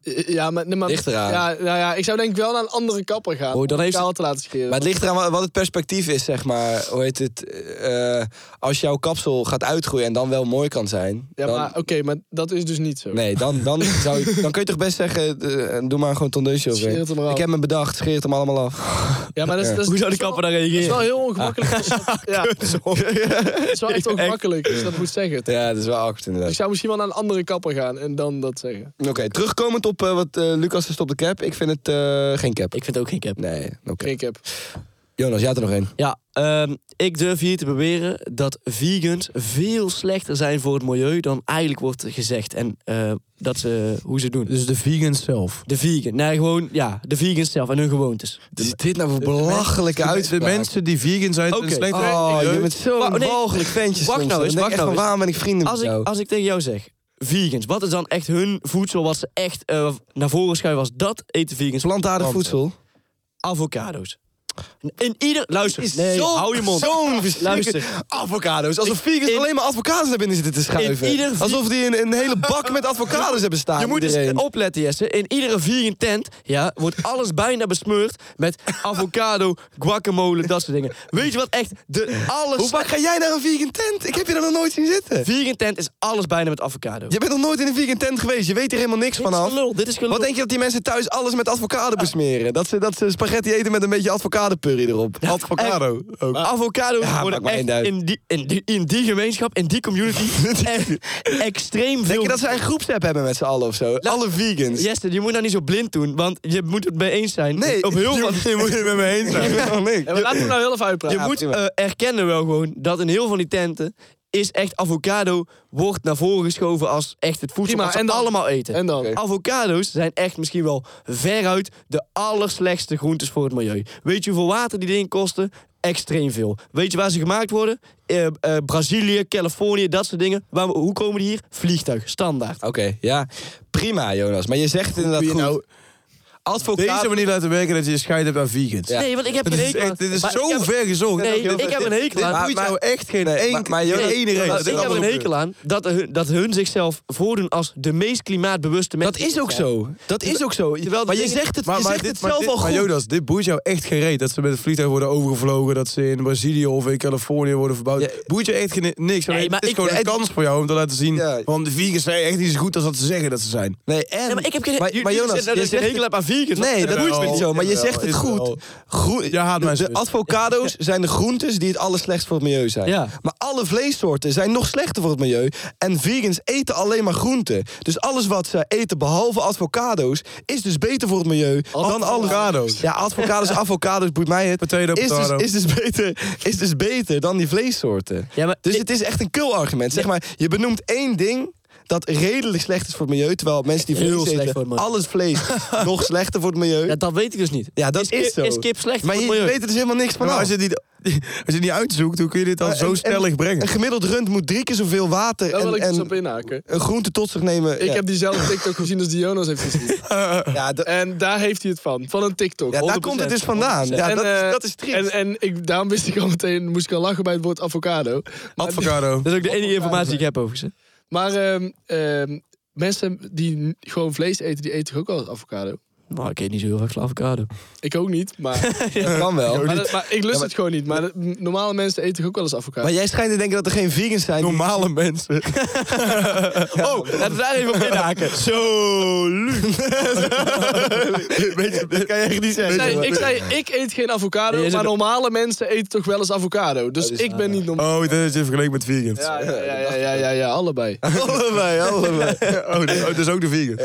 F: Eh, Ja, maar... nee, maar
C: Ligt eraan.
F: Ja, nou ja, ik zou denk ik wel naar een andere kapper gaan.
D: Oh, dan
F: om
D: heeft-
F: kaal te laten scheren.
C: Maar het ligt eraan wa- wat het perspectief is, zeg maar. Hoe heet het? eh, als jouw kapsel gaat uitgroeien en dan wel mooi kan zijn.
F: ja,
C: dan,
F: maar oké, maar dat is dus niet zo.
C: Nee, dan,
F: [LAUGHS]
C: dan, zou je, dan kun je toch best zeggen, eh, doe maar gewoon tondeusje over.
F: Scheer het hem maar af.
C: Ik heb me bedacht, scheer het hem allemaal af.
F: Ja, maar dat is, dat is,
D: [LAUGHS] Hoe zou de
F: dat is
D: kapper
F: wel-
D: daar
F: Dat is
D: reageren?
F: wel
D: Ah,
F: heel
D: [LAUGHS]
F: ongemakkelijk. als dat-
C: [LAUGHS]
F: Ja, [LAUGHS] het is wel echt ongemakkelijk als je dat moet zeggen.
C: Ja, dat is wel awkward
F: Ik
C: inderdaad.
F: zou misschien wel naar een andere kapper gaan en dan dat zeggen.
C: Oké, terugkomend op eh, wat eh, Lucas verstopt de cap. Ik vind het eh, geen cap.
D: Ik vind ook geen cap.
C: Nee, oké.
F: Geen cap.
C: Jonas, jij had er nog één.
D: Ja, ehm, ik durf hier te beweren dat vegans veel slechter zijn voor het milieu dan eigenlijk wordt gezegd. En eh, dat ze, hoe ze het doen.
E: Dus de vegan zelf.
D: De vegan. Nee, gewoon, ja, de vegans zelf en hun gewoontes.
C: Wat is dit nou voor belachelijke
E: De,
C: uitspraak?
E: mensen die vegan zijn,
D: Oké.
E: okay. slecht
C: Oh, je bent
D: Wa-
C: zo'n
D: nee,
C: walgelijk ventje
D: wacht
C: soms,
D: nou
C: hoor.
D: eens,
C: Dan denk ik
D: wacht
C: echt
D: nou
C: van,
D: eens.
C: waarom ben ik [LAUGHS] vrienden met
D: Als ik,
C: jou?
D: als ik tegen jou zeg, vegans, wat is dan echt hun voedsel wat ze echt eh, naar voren schuiven als dat eten vegans?
C: Plantaardig
D: Want
C: voedsel.
D: Avocado's. In ieder... Luister,
C: Is
D: nee,
C: zo'n-
D: hou je mond.
C: Zo'n verschrikkelijk-
D: Luister.
C: Avocado's. Alsof vegans
D: in-
C: alleen maar avocados naar binnen zitten te schuiven.
D: in ieder-
C: Alsof die een, een hele bak met avocados hebben staan.
D: Je moet
C: iedereen.
D: eens opletten, Jesse. In iedere vegan tent ja, wordt alles bijna besmeurd met avocado, guacamole, dat soort dingen. Weet je wat echt de alles...
C: Hoe vaak ga jij naar een vegan tent? Ik heb je daar nog nooit zien zitten.
D: Vegan tent is alles bijna met avocado.
C: Je bent nog nooit in een vegan tent geweest. Je weet er helemaal niks
D: dit is
C: vanaf.
D: gelul, dit is gelul.
C: Wat denk je dat die mensen thuis alles met avocado besmeren? Dat ze, dat ze spaghetti eten met een beetje avocadopurrie erop.
E: Avocado. Ook.
D: Avocado's
C: Ja,
D: worden
C: maakt mij
D: echt
C: niet uit.
D: in die, in, die, in die gemeenschap, in die
C: [LAUGHS]
D: community, echt extreem
C: Denk
D: veel...
C: je dat zij een groepsapp hebben met z'n allen of zo? Alle vegans.
D: Jesse, je moet nou niet zo blind doen, want je moet het mee eens zijn.
C: Nee,
D: op heel veel.
C: [LAUGHS] je moet het met me heen zijn. [LAUGHS]
F: Ja, maar laten we nou heel even uitpraten.
D: Je moet
C: prima.
D: eh, erkennen wel gewoon dat in heel van die tenten is echt avocado wordt naar voren geschoven als echt het voedsel
F: Prima,
D: wat ze
F: en dan?
D: allemaal eten.
F: En dan?
D: Avocado's zijn echt misschien wel veruit de allerslechtste groentes voor het milieu. Weet je hoeveel water die dingen kosten? Extreem veel. Weet je waar ze gemaakt worden? Eh, eh, Brazilië, Californië, dat soort dingen. Waar, hoe komen die hier? Vliegtuig, standaard.
C: Oké, ja. Prima, Jonas. Maar je zegt het inderdaad
E: Kun
C: goed.
E: je nou
C: Advocaat...
E: deze manier laten werken dat je je scheid hebt aan vegans.
D: Nee, want ik heb
E: Dit
D: geen
E: is,
D: hekel aan-
E: echt- dit is
D: maar ik
E: zo
D: heb-
E: ver gezocht.
D: Nee,
E: Dit-
D: ik heb een hekel aan-
E: Dit boeit
C: Maar-
E: jou nou echt geen
C: Nee,
E: één
C: maar- maar Jonas-
E: geen ene
C: Maar
E: reden.
D: Maar
E: Dat
D: ik heb
E: is
D: er een
E: allemaal
D: hekel aan dat hun, dat hun zichzelf voordoen als de meest klimaatbewuste mensen.
C: Dat is ook zo. Dat is ook zo.
D: Terwijl de
C: maar je
D: dingen-
C: zegt het,
E: Maar,
C: je
E: maar,
C: zegt
E: dit,
C: het
E: maar,
C: zelf
E: dit-
C: al
E: maar
C: goed.
E: Jonas, dit boeit jou echt geen reet. Dat ze met het vliegtuig worden overgevlogen, dat ze in Brazilië of in Californië worden verbouwd.
C: Ja.
E: Boeit je echt geen, niks.
D: Nee, maar
E: het is
D: ik-
E: gewoon een
D: het-
E: kans voor jou om te laten zien.
C: Ja.
E: Want de vegans zijn echt niet zo goed als dat ze zeggen dat ze zijn.
C: Nee, en...
D: Nee, maar ik heb geen...
C: Maar, maar Jonas,
D: je
C: je
D: zegt
C: zegt
D: hekel hebt aan vegan.
C: Nee, dat
E: Jawel,
C: is niet zo. Maar je
E: jawel,
C: zegt het
E: jawel.
C: goed. Groen,
E: Je haat mijn
C: de, de
E: zus.
D: [LAUGHS]
C: avocado's zijn de groentes die het allerslechtst voor het milieu zijn.
D: Ja.
C: Maar alle vleessoorten zijn nog slechter voor het milieu. En vegans eten alleen maar groenten. Dus alles wat ze eten, behalve avocado's, is dus beter voor het milieu dan alle...
E: Avocado's.
C: Ja, avocado's,
D: [LAUGHS]
C: avocado's, boeit mij het.
E: Potato,
C: is, dus,
E: potato.
C: is, dus beter, is dus beter dan die vleessoorten.
D: Ja, maar
C: dus
D: ik-
C: het is echt een kill argument. Zeg maar, je benoemt één ding... Dat redelijk slecht is voor het milieu. Terwijl mensen die
D: Heel
C: vlees
D: slecht
C: eten,
D: voor het milieu.
C: alles vlees
E: [LAUGHS]
C: nog slechter voor het milieu.
D: Ja, dat weet ik dus niet.
C: Ja, dat
D: kip-
C: is zo.
D: Is kip slecht
C: Maar
D: voor
C: je
D: het milieu?
C: weet er dus helemaal niks van
E: Maar
C: af.
E: als je, het niet, als je het niet uitzoekt, hoe kun je dit dan
C: Maar
E: zo
C: een-
E: stellig
C: een,
E: brengen?
C: Een gemiddeld rund moet drie keer zoveel water
F: Daar wil
C: en,
F: ik dus
C: en
F: op inhaken.
C: een groente tot zich nemen.
F: Ik
C: ja.
F: heb
C: [LAUGHS]
F: diezelfde TikTok gezien als die Jonas heeft gezien.
C: ja, dat-
F: En daar heeft hij het van. Van een TikTok.
C: ja, daar
D: 100%.
C: komt het dus vandaan. Ja,
F: en,
C: dat, is-
F: eh,
C: dat is triest.
F: En, en ik, daarom wist ik al meteen, moest ik al lachen bij het woord avocado.
E: Avocado.
D: Dat is ook de enige informatie die ik heb overigens. hè.
F: Maar ehm, ehm, mensen die n- gewoon vlees eten, die eten toch ook wel avocado?
D: Nou, ik eet niet zo heel vaak van avocado.
F: Ik ook niet,
C: [LAUGHS]
F: maar,
C: dat kan wel.
F: maar,
C: Maar,
F: dat- maar ik lust het gewoon niet. Maar dat- normale mensen eten toch ook wel eens avocado?
C: jij schijnt te denken dat er geen vegans zijn. die-
E: Normale
C: [LAUGHS]
D: [LAUGHS]
E: mensen.
D: Oh, laten we daar even op inhaken.
C: Zo,
D: [LAUGHS]
C: Luc. [LAUGHS] Weet je, dat kan je echt niet zeggen.
F: ik, zei, ik zei, ik eet geen avocado,
D: Nee, je
F: maar
D: zegt-
F: normale mensen eten toch wel eens avocado. Dus ik ben niet normaal.
E: Oh, dat is in vergeleken met vegans. [LAUGHS]
F: Ja, ja, ja, ja, ja, ja, ja, allebei.
C: allebei, allebei.
E: Oh, dat oh, dat is ook de vegan.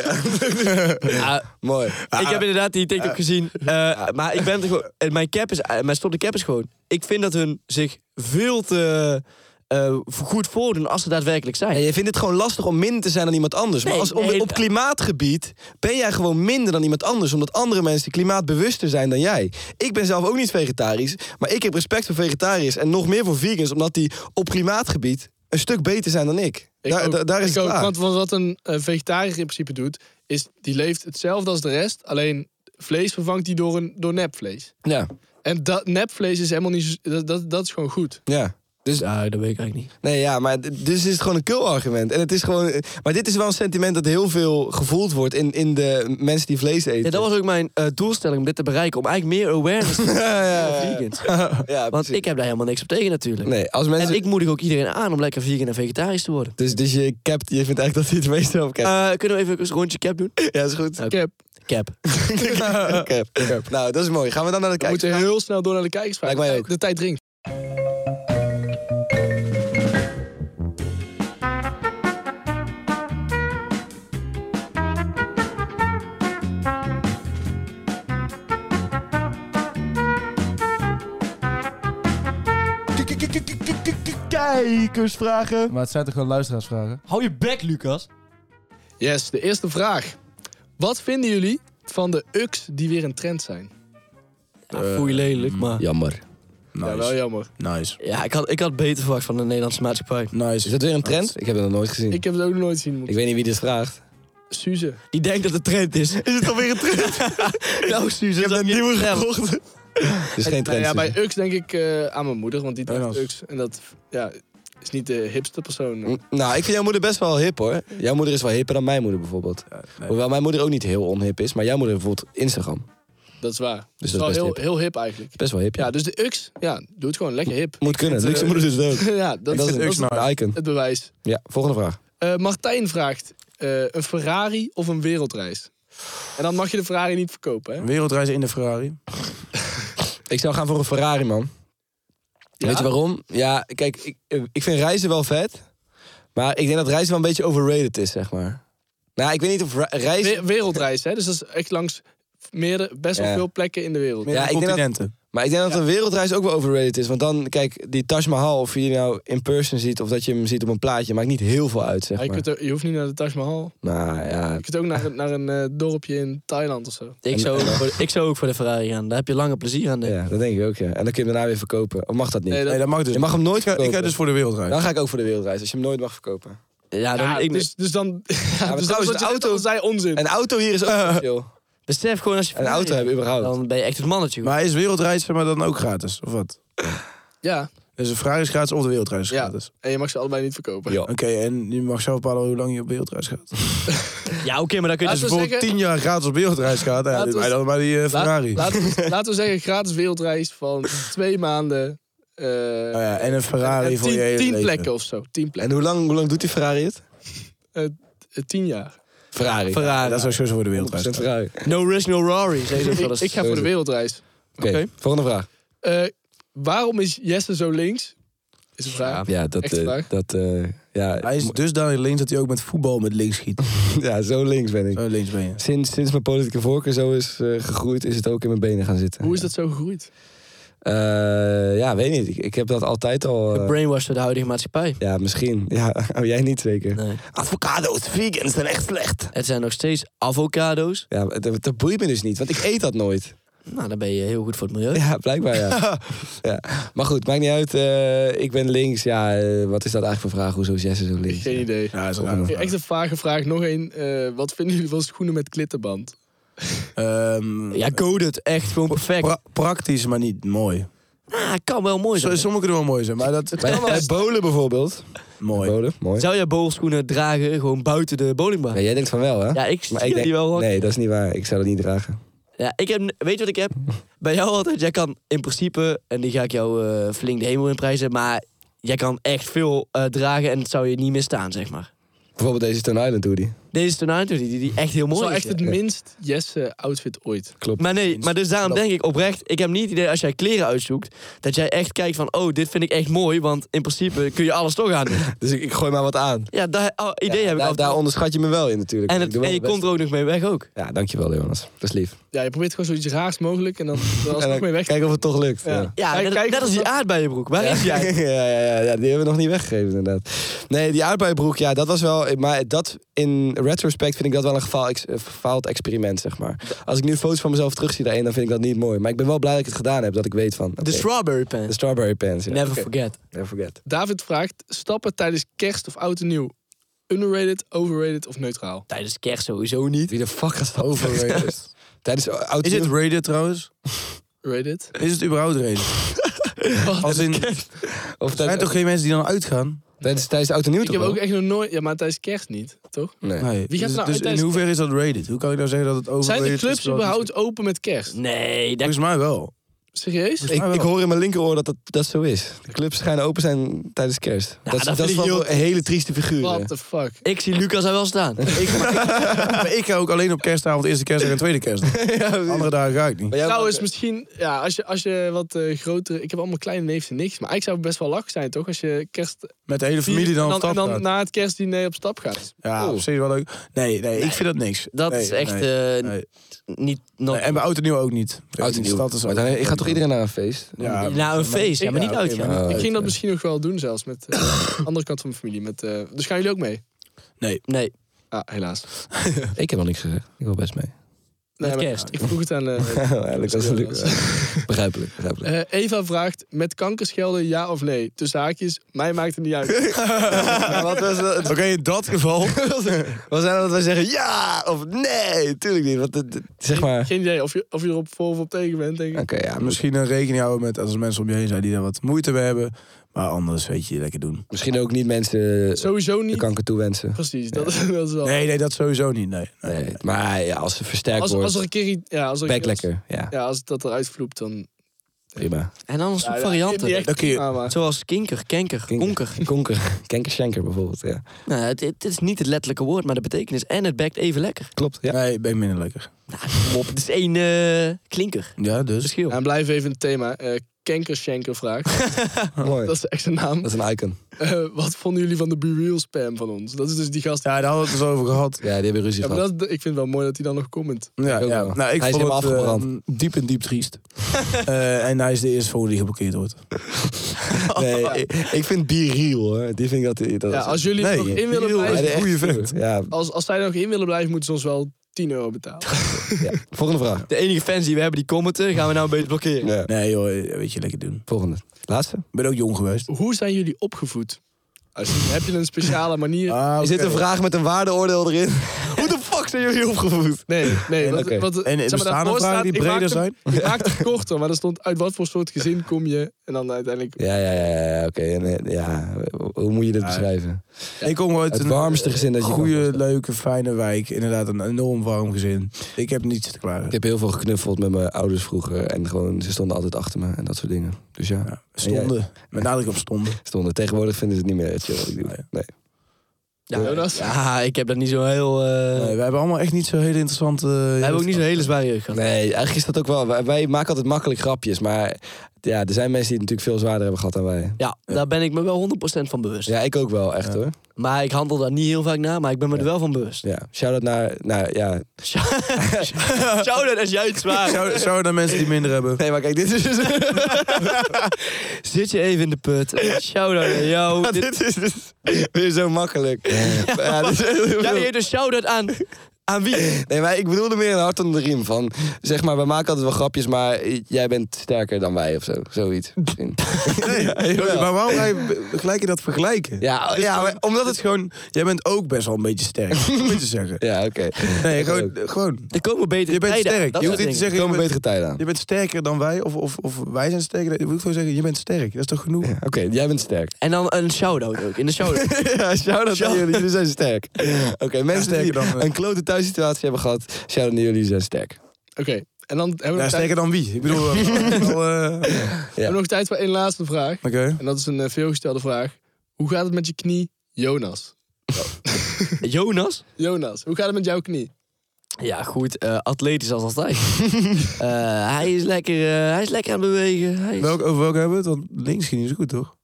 D: Ja,
C: Mooi.
D: Ah,
C: Ah.
D: ik heb inderdaad die TikTok gezien. eh, maar ik ben er gewoon. en Mijn cap is. eh, Mijn stop de cap is gewoon. Ik vind dat hun zich veel te eh, goed voordoen als ze daadwerkelijk zijn.
C: En je vindt het gewoon lastig om minder te zijn dan iemand anders. maar
D: Nee,
C: als, om-
D: nee. eh,
C: op klimaatgebied ben jij gewoon minder dan iemand anders. Omdat andere mensen klimaatbewuster zijn dan jij. Ik ben zelf ook niet vegetarisch. Maar ik heb respect voor vegetariërs. En nog meer voor vegans. Omdat die op klimaatgebied een stuk beter zijn dan ik.
F: Ik
C: daar,
F: ook.
C: daar- daar is
F: Ik
C: het
F: ook,
C: klaar.
F: want, want wat een eh, vegetariër in principe doet, is die leeft hetzelfde als de rest. Alleen vlees vervangt hij door, een, door nepvlees.
C: Ja,
F: En dat nepvlees is helemaal niet. zo- Dat, dat, dat is gewoon goed.
C: ja. Dus-
D: Ja, dat weet ik eigenlijk niet.
C: Nee, ja, maar d- dus is het gewoon een kill argument. En het is gewoon, maar dit is wel een sentiment dat heel veel gevoeld wordt in, in de mensen die vlees eten.
D: Ja,
C: [LAUGHS]
D: dat was ook mijn eh, doelstelling om dit te bereiken. Om eigenlijk meer awareness te krijgen voor vegans.
C: [LAUGHS] Ja,
D: Want
C: precies.
D: ik heb daar helemaal niks op tegen natuurlijk.
C: Nee, als mensen...
D: En ik moedig ook iedereen aan om lekker vegan en vegetarisch te worden.
C: Dus, dus je, capt, je vindt eigenlijk dat hij het meeste op capt.
D: Eh, kunnen we even een rondje cap doen?
C: ja, is [LAUGHS] goed.
F: Ik heb,
D: Cap.
C: [LAUGHS] Cap. Nou, dat is mooi. Gaan we dan naar de
F: we
C: kijkers?
F: moeten heel snel door naar de kijkersvraag.
C: Lijkt mij ook.
F: De tijd dringt.
C: Kijkersvragen.
H: Maar het zijn toch gewoon luisteraarsvragen?
D: Hou je bek, Lucas.
F: Yes, de eerste vraag. Wat vinden jullie van de UX die weer een trend zijn?
D: Nou, voel je lelijk, maar...
C: Eh, Jammer.
F: Ja, wel
E: Nice.
F: jammer.
E: Nice.
D: Ja, ik had, ik had beter verwacht van de Nederlandse maatschappij.
C: Is
E: Nice.
C: dat weer een trend? Ik heb dat nog nooit gezien. Nou, Ik,
F: Ik heb het ook nog nooit zien.
C: weet niet wie dit vraagt.
F: Suze.
D: Die denkt dat het trend is. Is het alweer een trend? [LAUGHS] nou, Suus, dat is een nieuwe [LAUGHS] gekocht.
C: Het is geen
F: Nou
C: trend.
F: ja, bij UX denk ik eh, aan mijn moeder, want die draagt
E: Jonas.
F: UX. En dat ja, is niet de hipste persoon.
C: Suze. Nou, ik vind jouw moeder best wel hip hoor. Jouw moeder is wel hipper dan mijn moeder bijvoorbeeld.
E: nee.
C: Hoewel mijn moeder ook niet heel onhip is, maar jouw moeder heeft bijvoorbeeld Instagram.
F: Dat is waar. Dus
C: dat
F: dat
C: is
F: is wel
C: best
F: heel, heel hip eigenlijk.
C: Best wel hip. Ja.
F: Ja, dus de UX, ja, doe het gewoon lekker hip. [LAUGHS]
C: Moet kunnen. Luxe moeder is dood.
F: ja, dat,
C: Dat is
F: dat
C: een
F: is
C: een icon.
F: het bewijs.
C: Ja, volgende vraag.
F: Eh, Martijn vraagt, eh, een Ferrari of een wereldreis? En dan mag je de Ferrari niet verkopen, hè?
E: Wereldreizen in de Ferrari.
C: Ik zou gaan voor een Ferrari, man. Weet je waarom? Ja, kijk, ik, ik vind reizen wel vet. Maar ik denk dat reizen wel een beetje overrated is, zeg maar. Nou, ik weet niet of re- reizen...
F: We- wereldreis, hè? Dus dat is echt langs meerdere, best wel
C: Ja.
F: veel plekken in de wereld.
C: Ja,
E: Ja,
C: ik denk dat-
E: continenten.
C: Maar ik denk dat een wereldreis ook wel overrated is. Want dan, kijk, die Taj Mahal, of je die nou in person ziet... of dat je hem ziet op een plaatje, maakt niet heel veel uit,
F: Ja,
C: zeg
F: je,
C: maar.
F: kunt ook- je hoeft niet naar de Taj Mahal.
C: Nou ja,
F: Je kunt ook naar, een- naar een eh, dorpje in Thailand of zo.
D: Ik zou, ook voor, ik zou ook voor de Ferrari gaan. Daar heb je langer plezier aan. denk ik.
C: ja, dat denk ik ook, ja. En dan kun je hem daarna weer verkopen. Of mag dat niet?
F: Nee, dat-
E: Nee, dat mag dus.
C: Je mag hem nooit
E: ik, ga,
C: verkopen.
E: ik ga dus voor de wereldreis.
C: Dan ga ik ook voor de wereldreis, als je hem nooit mag verkopen.
D: Ja, dan,
F: Ja,
D: ik,
F: dus, dus dan... Ja, dus
C: trouwens,
F: dat
C: de
F: is
C: auto-
F: auto... zei onzin.
C: Een auto hier is ook heel chill.
D: dus- besef gewoon als je
C: Een auto hebben, überhaupt.
D: Dan ben je echt het mannetje.
E: Maar is wereldreizen maar dan ook gratis? Of wat?
F: Ja,
E: Dus de Ferrari is gratis of de wereldreis is
F: ja.
E: gratis?
F: En je mag ze allebei niet verkopen.
C: Ja.
E: Oké, en je mag zelf bepalen hoe lang je op wereldreis gaat. Als
D: ja, oké, maar dan kun je dus
F: Laten
E: je
D: bijvoorbeeld...
F: we
E: bijvoorbeeld
F: zeggen-
E: tien jaar gratis op wereldreis gaat, ja,
F: Laten
E: dan
F: we-
E: ben je dan bij die eh,
F: Laat-
E: Ferrari.
F: Laten, we- laten we zeggen, gratis wereldreis van twee maanden. eh,
C: Oh
E: Nou ja, en een Ferrari
F: en
E: voor je
F: tien,
E: hele
F: tien
E: leven.
F: plekken of zo. Tien
C: En
F: plekken.
C: hoe lang, hoe lang doet die Ferrari het?
F: Eh, tien jaar.
C: Ferrari.
D: Ferrari.
E: Dat zou sowieso voor de
C: Dat is
E: wereldwijd.
C: Ferrari.
D: No risk, no Rari.
F: Ik, ik ga voor de wereldreis.
C: Oké,
F: Oké.
C: volgende vraag.
F: Eh, waarom is Jesse zo links? Is een vraag.
C: Ja, dat...
F: Echt een
C: eh,
F: vraag?
C: dat eh, ja,
E: Hij is dusdanig links dat hij ook met voetbal met links
F: [LAUGHS]
E: schiet.
C: [LAUGHS] ja, zo links ben ik.
E: Zo links ben je.
C: Sinds, sinds mijn politieke voorkeur zo is eh, gegroeid, is het ook in mijn benen gaan zitten.
F: Hoe is dat zo gegroeid?
C: Eh, ja, weet niet. Ik, ik heb dat altijd al... eh,
D: Brainwashed door de huidige maatschappij.
C: ja, misschien. Ja, [LAUGHS] oh, jij niet zeker.
D: Nee.
C: Avocado's, vegans zijn echt slecht.
D: Het zijn nog steeds avocado's.
C: Ja, maar dat, dat boeit me dus niet, want ik eet dat nooit.
D: Nou, dan ben je heel goed voor het milieu.
C: Ja, blijkbaar ja. ja. Maar goed, maakt niet uit. eh, ik ben links. Ja, eh, wat is dat eigenlijk voor vraag? Hoezo is Jesse zo links?
F: Geen idee.
E: Ja, dat is een rare vraag.
F: Echt een vage vraag. Nog één. Eh, wat vinden jullie van schoenen met klittenband?
E: Ehm,
D: Ja, go it. Echt gewoon perfect.
E: pra- praktisch, maar niet mooi.
D: ah, kan wel mooi
E: Zo-
D: zijn.
E: Sommige kunnen wel mooi zijn, maar dat
C: Bij, bij bowlen bijvoorbeeld.
E: mooi.
C: Bowlen, mooi.
D: Zou jij bowlschoenen dragen gewoon buiten de bowlingbaan?
C: Ja, jij denkt van wel, hè?
D: [LAUGHS] Ja, ik zie
C: denk-
D: die wel. hoor.
C: Nee, dat is niet waar. Ik zou dat niet dragen.
D: Ja, ik heb, weet je wat ik
C: [LAUGHS]
D: heb? Bij jou altijd, jij kan in principe, en die ga ik jou eh, flink de hemel in prijzen, maar jij kan echt veel eh, dragen en het zou je niet meer staan, zeg maar.
C: Bijvoorbeeld deze Stone Island hoodie.
D: Deze is toen die, die, die echt heel
F: Dat
D: mooi
F: is wel
D: is.
F: echt het
D: ja.
F: minst Jesse-outfit ooit.
D: Maar nee, maar dus daarom denk ik oprecht, ik heb niet het idee als jij kleren uitzoekt, dat jij echt kijkt van, oh, dit vind ik echt mooi, want in principe kun je alles toch aan doen. [LAUGHS]
C: Dus ik, ik gooi maar wat aan.
D: Ja, dat oh, idee heb ik
C: daar,
D: altijd.
C: daar onderschat je me wel in natuurlijk.
D: en,
C: Ik
D: het,
C: doe wel
D: en je
C: mijn
D: komt er ook nog mee weg ook.
C: best. Ja, dankjewel Jonas. Dat is lief.
F: Ja, je probeert gewoon zoiets raars mogelijk
E: [LAUGHS]
F: en dan er
C: En dan
F: alsnog mee weg.
C: kijken of het toch lukt.
F: Ja.
C: ja.
D: Ja,
F: Kijk,
D: net,
F: kijk,
D: net als die
F: wat-
D: aardbeienbroek. Waar is
C: Ja, [LAUGHS]
D: jij?
C: ja, ja, ja, die hebben we nog niet weggegeven inderdaad. Nee, die aardbeienbroek, ja, dat was wel... Maar dat, in retrospect vind ik dat wel een gefaal, ex- eh, gefaald experiment, zeg maar. Als ik nu foto's van mezelf terugzie daarin, dan vind ik dat niet mooi. Maar ik ben wel blij dat ik het gedaan heb, dat ik weet van...
D: De
C: oké,
D: strawberry
C: de
D: pants.
C: strawberry pants. ja.
D: Never
C: Oké,
D: forget.
C: Never forget.
F: David vraagt, stappen tijdens kerst of oud en nieuw? Underrated, overrated of neutraal?
D: Tijdens kerst sowieso niet.
C: Wie de fuck gaat dat?
E: Overrated.
C: eh, Tijdens eh, oud
E: Is het rated trouwens?
F: Rated?
E: Is het
F: [LAUGHS]
E: überhaupt rated? Als in, er
C: Of
E: zijn
C: tijdens,
E: toch geen mensen die dan uitgaan?
C: tijdens, tijdens oud en nieuw
F: Ik
C: toch
F: heb
C: wel?
F: ook echt nog nooit... Ja, maar tijdens kerst niet, toch?
C: Nee.
E: Nee.
F: Wie gaat nou
E: dus dus
F: uit
E: in
F: tijdens-
E: hoeverre is dat rated? Hoe kan ik nou zeggen dat het overrated
F: Zijn de
E: is, Mm.
F: clubs
E: terwijl het
F: überhaupt open met kerst?
D: Nee, dat
E: niet- Volgens mij wel.
F: Serieus?
C: Ik, ik hoor in mijn linkeroor dat, dat dat zo is. De clubs schijnen open zijn tijdens kerst. dat is,
D: dat
C: dat is
D: vind ik
C: wel
D: heel-
C: een hele trieste
F: What
C: figuren.
F: the fuck?
D: Ik zie Lucas daar wel staan.
E: Maar ik ga ook alleen op kerstavond, eerste kerstdag en tweede
C: [LAUGHS]
E: kerstdag. Andere dagen ga ik niet.
C: Maar jij-
F: Trouwens, Nou, misschien, ja, als je, als je wat eh grotere... Ik heb allemaal kleine neefjes en niks, maar ik zou best wel lach zijn, toch? Als je kerst...
E: Met de hele familie dan
F: en
E: op stap
F: en
E: gaat.
F: dan Oh. na het kerstdiner op stap gaat.
E: Ja, op zich wel leuk. Nee, nee, ik vind dat niks.
D: Dat
E: Nee,
D: is echt
E: nee,
D: eh,
E: nee.
D: niet... not-
E: Nee, en bij Oud en Nieuw ook niet.
C: Oud en nieuw.
E: Dat is
C: Maar
E: ook-
C: dan gaat toch iedereen naar een feest?
E: Ja,
D: Nou, een feest, ja, maar niet
E: oké,
D: uitgaan.
E: maar niet
F: Ik
E: uit.
F: ging dat misschien nog wel doen zelfs met eh,
C: [COUGHS]
F: de andere kant van mijn familie. Met, eh, dus gaan jullie ook mee?
E: Nee.
D: Nee,
F: Ah, helaas.
C: Ik heb al niks gezegd. Ik wil best mee.
F: Nee, maar
D: kerst.
F: Ik vroeg het aan...
C: [LAUGHS]
F: eh,
E: Oh,
C: Eigenlijk, dat is natuurlijk
F: Jonas.
C: [LAUGHS] begrijpelijk. begrijpelijk.
F: Eh, Eva vraagt, met kanker schelden ja of nee? Tussen haakjes, mij maakt het niet
C: [LAUGHS]
F: uit.
C: wat was dat?
E: Oké, in dat
C: [LAUGHS]
E: geval.
C: Was dat dat wij zeggen ja of nee? Tuurlijk niet. Want het- het- zeg maar. Oké,
F: Geen idee of je, of je erop voor of op tegen bent, denk ik.
C: ja, misschien,
E: Misschien een rekening houden met als er mensen om je heen zijn die daar wat moeite mee hebben. Maar anders weet je, lekker doen.
C: misschien ook niet mensen
F: Sowieso
C: de
F: niet.
C: kanker toewensen.
F: Precies, dat, dat is wel...
E: Nee, nee, dat sowieso niet. Nee. nee.
C: Nee, maar ja, als ze versterkt
F: als,
C: wordt,
F: als er een keer... i- Ja, als er een
C: bek
F: keer iets-
C: lekker. Ja,
F: Ja, als dat eruit vloept, dan...
C: prima.
D: en anders
F: Ja, ja,
D: varianten.
F: die echt
E: Dan kun je-
F: prima, maar-
D: Zoals kinker, kenker,
C: Kinker.
D: konker.
C: Konker. [LAUGHS] Kenker Schenker bijvoorbeeld. Ja.
D: Nou, het, het is niet het letterlijke woord, maar de betekenis. En het bekt even lekker.
C: Klopt. Ja.
E: Nee, ben ik minder lekker.
D: Nou, kom op. Het is één eh, klinker.
E: Ja, dus.
D: Verschil.
F: Ja, Nou, en blijf even in het thema. Eh Kankershanker
C: [LAUGHS]
F: vraagt.
C: Mooi.
F: dat is echt zijn naam.
C: Dat is een icon.
F: Eh, wat vonden jullie van de Bereal spam van ons? Dat is dus die gast...
E: Ja, daar hadden we het dus over gehad.
C: Ja, die hebben ruzie
F: Ja, maar
C: gehad.
F: dat, ik vind het wel mooi dat hij dan nog comment.
E: Ja,
C: ook
E: ja.
C: wel.
E: Nou, ik
C: Hij is
E: vond
C: helemaal
E: het, eh,
C: afgebrand.
E: diep en diep
D: [LAUGHS]
E: triest. Eh, en hij is de eerste volgende die geblokkeerd wordt.
C: Nee, [LAUGHS] ik, ik vind Biriel hoor. Die vind ik dat... dat
F: Ja,
C: is-
F: als jullie er
E: Nee,
F: nog in willen
E: Biriel,
C: Hij is
F: blijven...
C: echt
E: goeie
C: goed.
E: vent.
C: Ja,
F: Als, als zij er nog in willen blijven, moeten ze ons wel 10 euro
E: [LAUGHS]
F: betalen.
C: ja. Volgende vraag.
D: De enige fans die we hebben die commenten, gaan we nou een beetje blokkeren.
C: Ja.
E: Nee joh, eh, weet je, lekker doen.
C: Volgende. Laatste.
E: Ik ben ook jong geweest.
F: Hoe zijn jullie opgevoed? Als je- heb je een speciale manier?
E: Ah,
C: Is dit
E: oké.
C: een vraag met een waardeoordeel erin? Hoe de fuck zijn jullie opgevoed?
F: Nee, nee. Wat,
C: Oké.
F: wat, zeg
E: En er
F: maar,
E: bestaan
F: daarvoor
E: er vragen
F: staat,
E: die
F: ik maak
E: breder
F: hem-
E: zijn?
F: Ik maak het korter, maar er stond uit wat voor soort gezin kom je. En dan uiteindelijk...
C: Ja, ja, ja, ja, ja, oké. En, eh, Ja, hoe moet je dit beschrijven?
E: Ik kom uit
C: Het
E: een eh,
C: warmste gezin dat je kan
E: goede,
C: voorstellen.
E: leuke, fijne wijk. Inderdaad, een enorm warm gezin. Ik heb niets te klagen.
C: Ik heb heel veel geknuffeld met mijn ouders vroeger. En gewoon, ze stonden altijd achter me en dat soort dingen. Dus ja,
E: Ja, stonden. Met nadruk op stonden.
C: Ah, stonden. Tegenwoordig vinden ze het niet meer chill wat ik doe. Nee.
D: Ja,
F: Jonas?
D: ja, Ah, ik heb dat niet zo heel... eh
E: Nee, we hebben allemaal echt niet zo hele interessante...
D: we hebben ook niet zo'n hele zware jeugd gehad.
C: Nee, eigenlijk is dat ook wel. Wij, wij maken altijd makkelijk grapjes, maar ja, er zijn mensen die het natuurlijk veel zwaarder hebben gehad dan wij.
D: Ja, daar ben ik me wel 100% van bewust.
C: Ja, ik ook wel, echt hoor.
D: Maar ik handel daar niet heel vaak naar, maar ik ben me er wel van bewust.
C: Ja. Shout-out naar, nou ja.
D: Zouden als jij het zwaar
E: Zou, zouden er mensen die minder hebben?
C: Nee, maar kijk, dit is [LAUGHS] dus...
D: Zit je even in de put. Shout-out aan jou. Dit-
C: dit is dus [LAUGHS] weer zo makkelijk. [LAUGHS] Ja, dit is heel veel.
D: Jij geeft een dus shout-out aan... Aan wie?
C: Nee, maar ik bedoelde meer een hart onder de riem van... Zeg maar, we maken altijd wel grapjes, maar jij bent sterker dan wij of zo. Zoiets. [LAUGHS] misschien.
E: maar waarom ga je gelijk in dat vergelijken?
C: Ja, ja,
D: Dus
C: maar omdat het gewoon...
E: Jij bent ook best wel een beetje sterk, moet je zeggen.
C: [LAUGHS] Ja, oké.
E: Nee,
C: Ik
E: gewoon...
C: ook.
E: gewoon.
D: Er komen betere
E: Je bent
D: tijden.
E: sterk.
D: Dat
E: Je
D: soort
E: hoeft niet te
D: dingen.
C: Er
E: zeggen,
C: komen
E: je bent,
C: betere tijden aan.
E: je bent sterker dan wij, of, of, of wij zijn sterker. dan- Ik moet gewoon zeggen, je bent sterk. Dat is toch genoeg? [LAUGHS]
C: Oké, jij bent sterk.
D: En dan een shout-out ook. In de shout-out.
C: Ja, [LAUGHS] shout-out aan
D: Shout-
C: jullie. Jullie zijn sterk. Oké, mensen die
E: sterker dan, eh.
C: een klote thuissituatie hebben gehad... Shout-out naar jullie, jullie zijn sterk.
F: Oké, en dan hebben we,
E: Ja,
F: nog tijd,
E: sterker dan wie? Ik
C: [LAUGHS]
E: bedoel... eh, wel, eh, Oké.
F: hebben we nog tijd voor één laatste vraag. En dat is een eh, veelgestelde vraag. Hoe gaat het met je knie, Jonas?
D: [LAUGHS] Jonas?
F: Jonas, hoe gaat het met jouw knie?
D: Ja, goed. eh, atletisch als [LAUGHS] altijd. Eh, hij, is lekker, eh, hij is lekker aan het bewegen. Hij is-
E: Welk, over welke hebben we het? Want links knie is goed, toch?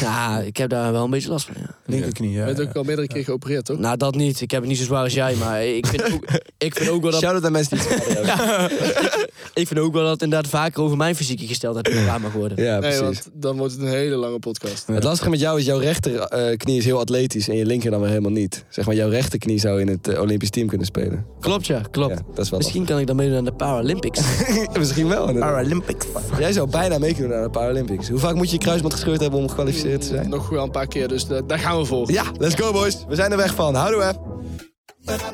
D: Ja, ik heb daar wel een beetje last van. ja.
E: Linkerknie, ja.
F: Je bent
E: ja.
F: ook al meerdere keer geopereerd, toch?
D: Nou, dat niet. Ik heb het niet zo zwaar als jij, maar ik vind
C: [LAUGHS]
D: ook, ik vind ook wel dat...
C: Shout-out aan mensen die... Ja,
D: Ik vind ook wel dat het inderdaad vaker over mijn fysieke
C: [LAUGHS]
D: gesteldheid gedaan mag
C: [LAUGHS]
D: worden.
C: ja
F: nee,
C: precies.
F: want dan wordt het een hele lange podcast.
C: Het lastige met jou is, jouw rechterknie is heel atletisch en je linker dan weer helemaal niet. Zeg maar, jouw rechterknie zou in het eh, Olympisch team kunnen spelen.
D: Klopt, ja, klopt.
C: Ja, dat is wel
D: Misschien kan ik dan meedoen aan de Paralympics.
C: [LAUGHS] Misschien wel. inderdaad.
E: Paralympics.
C: Jij zou bijna mee kunnen naar de Paralympics. Hoe vaak moet je je kruisband gescheurd hebben om gekwalificeerd te zijn?
F: Nog wel een paar keer, dus eh, daar gaan we voor.
C: Ja, let's go boys. We zijn er weg van. Houdoe hè.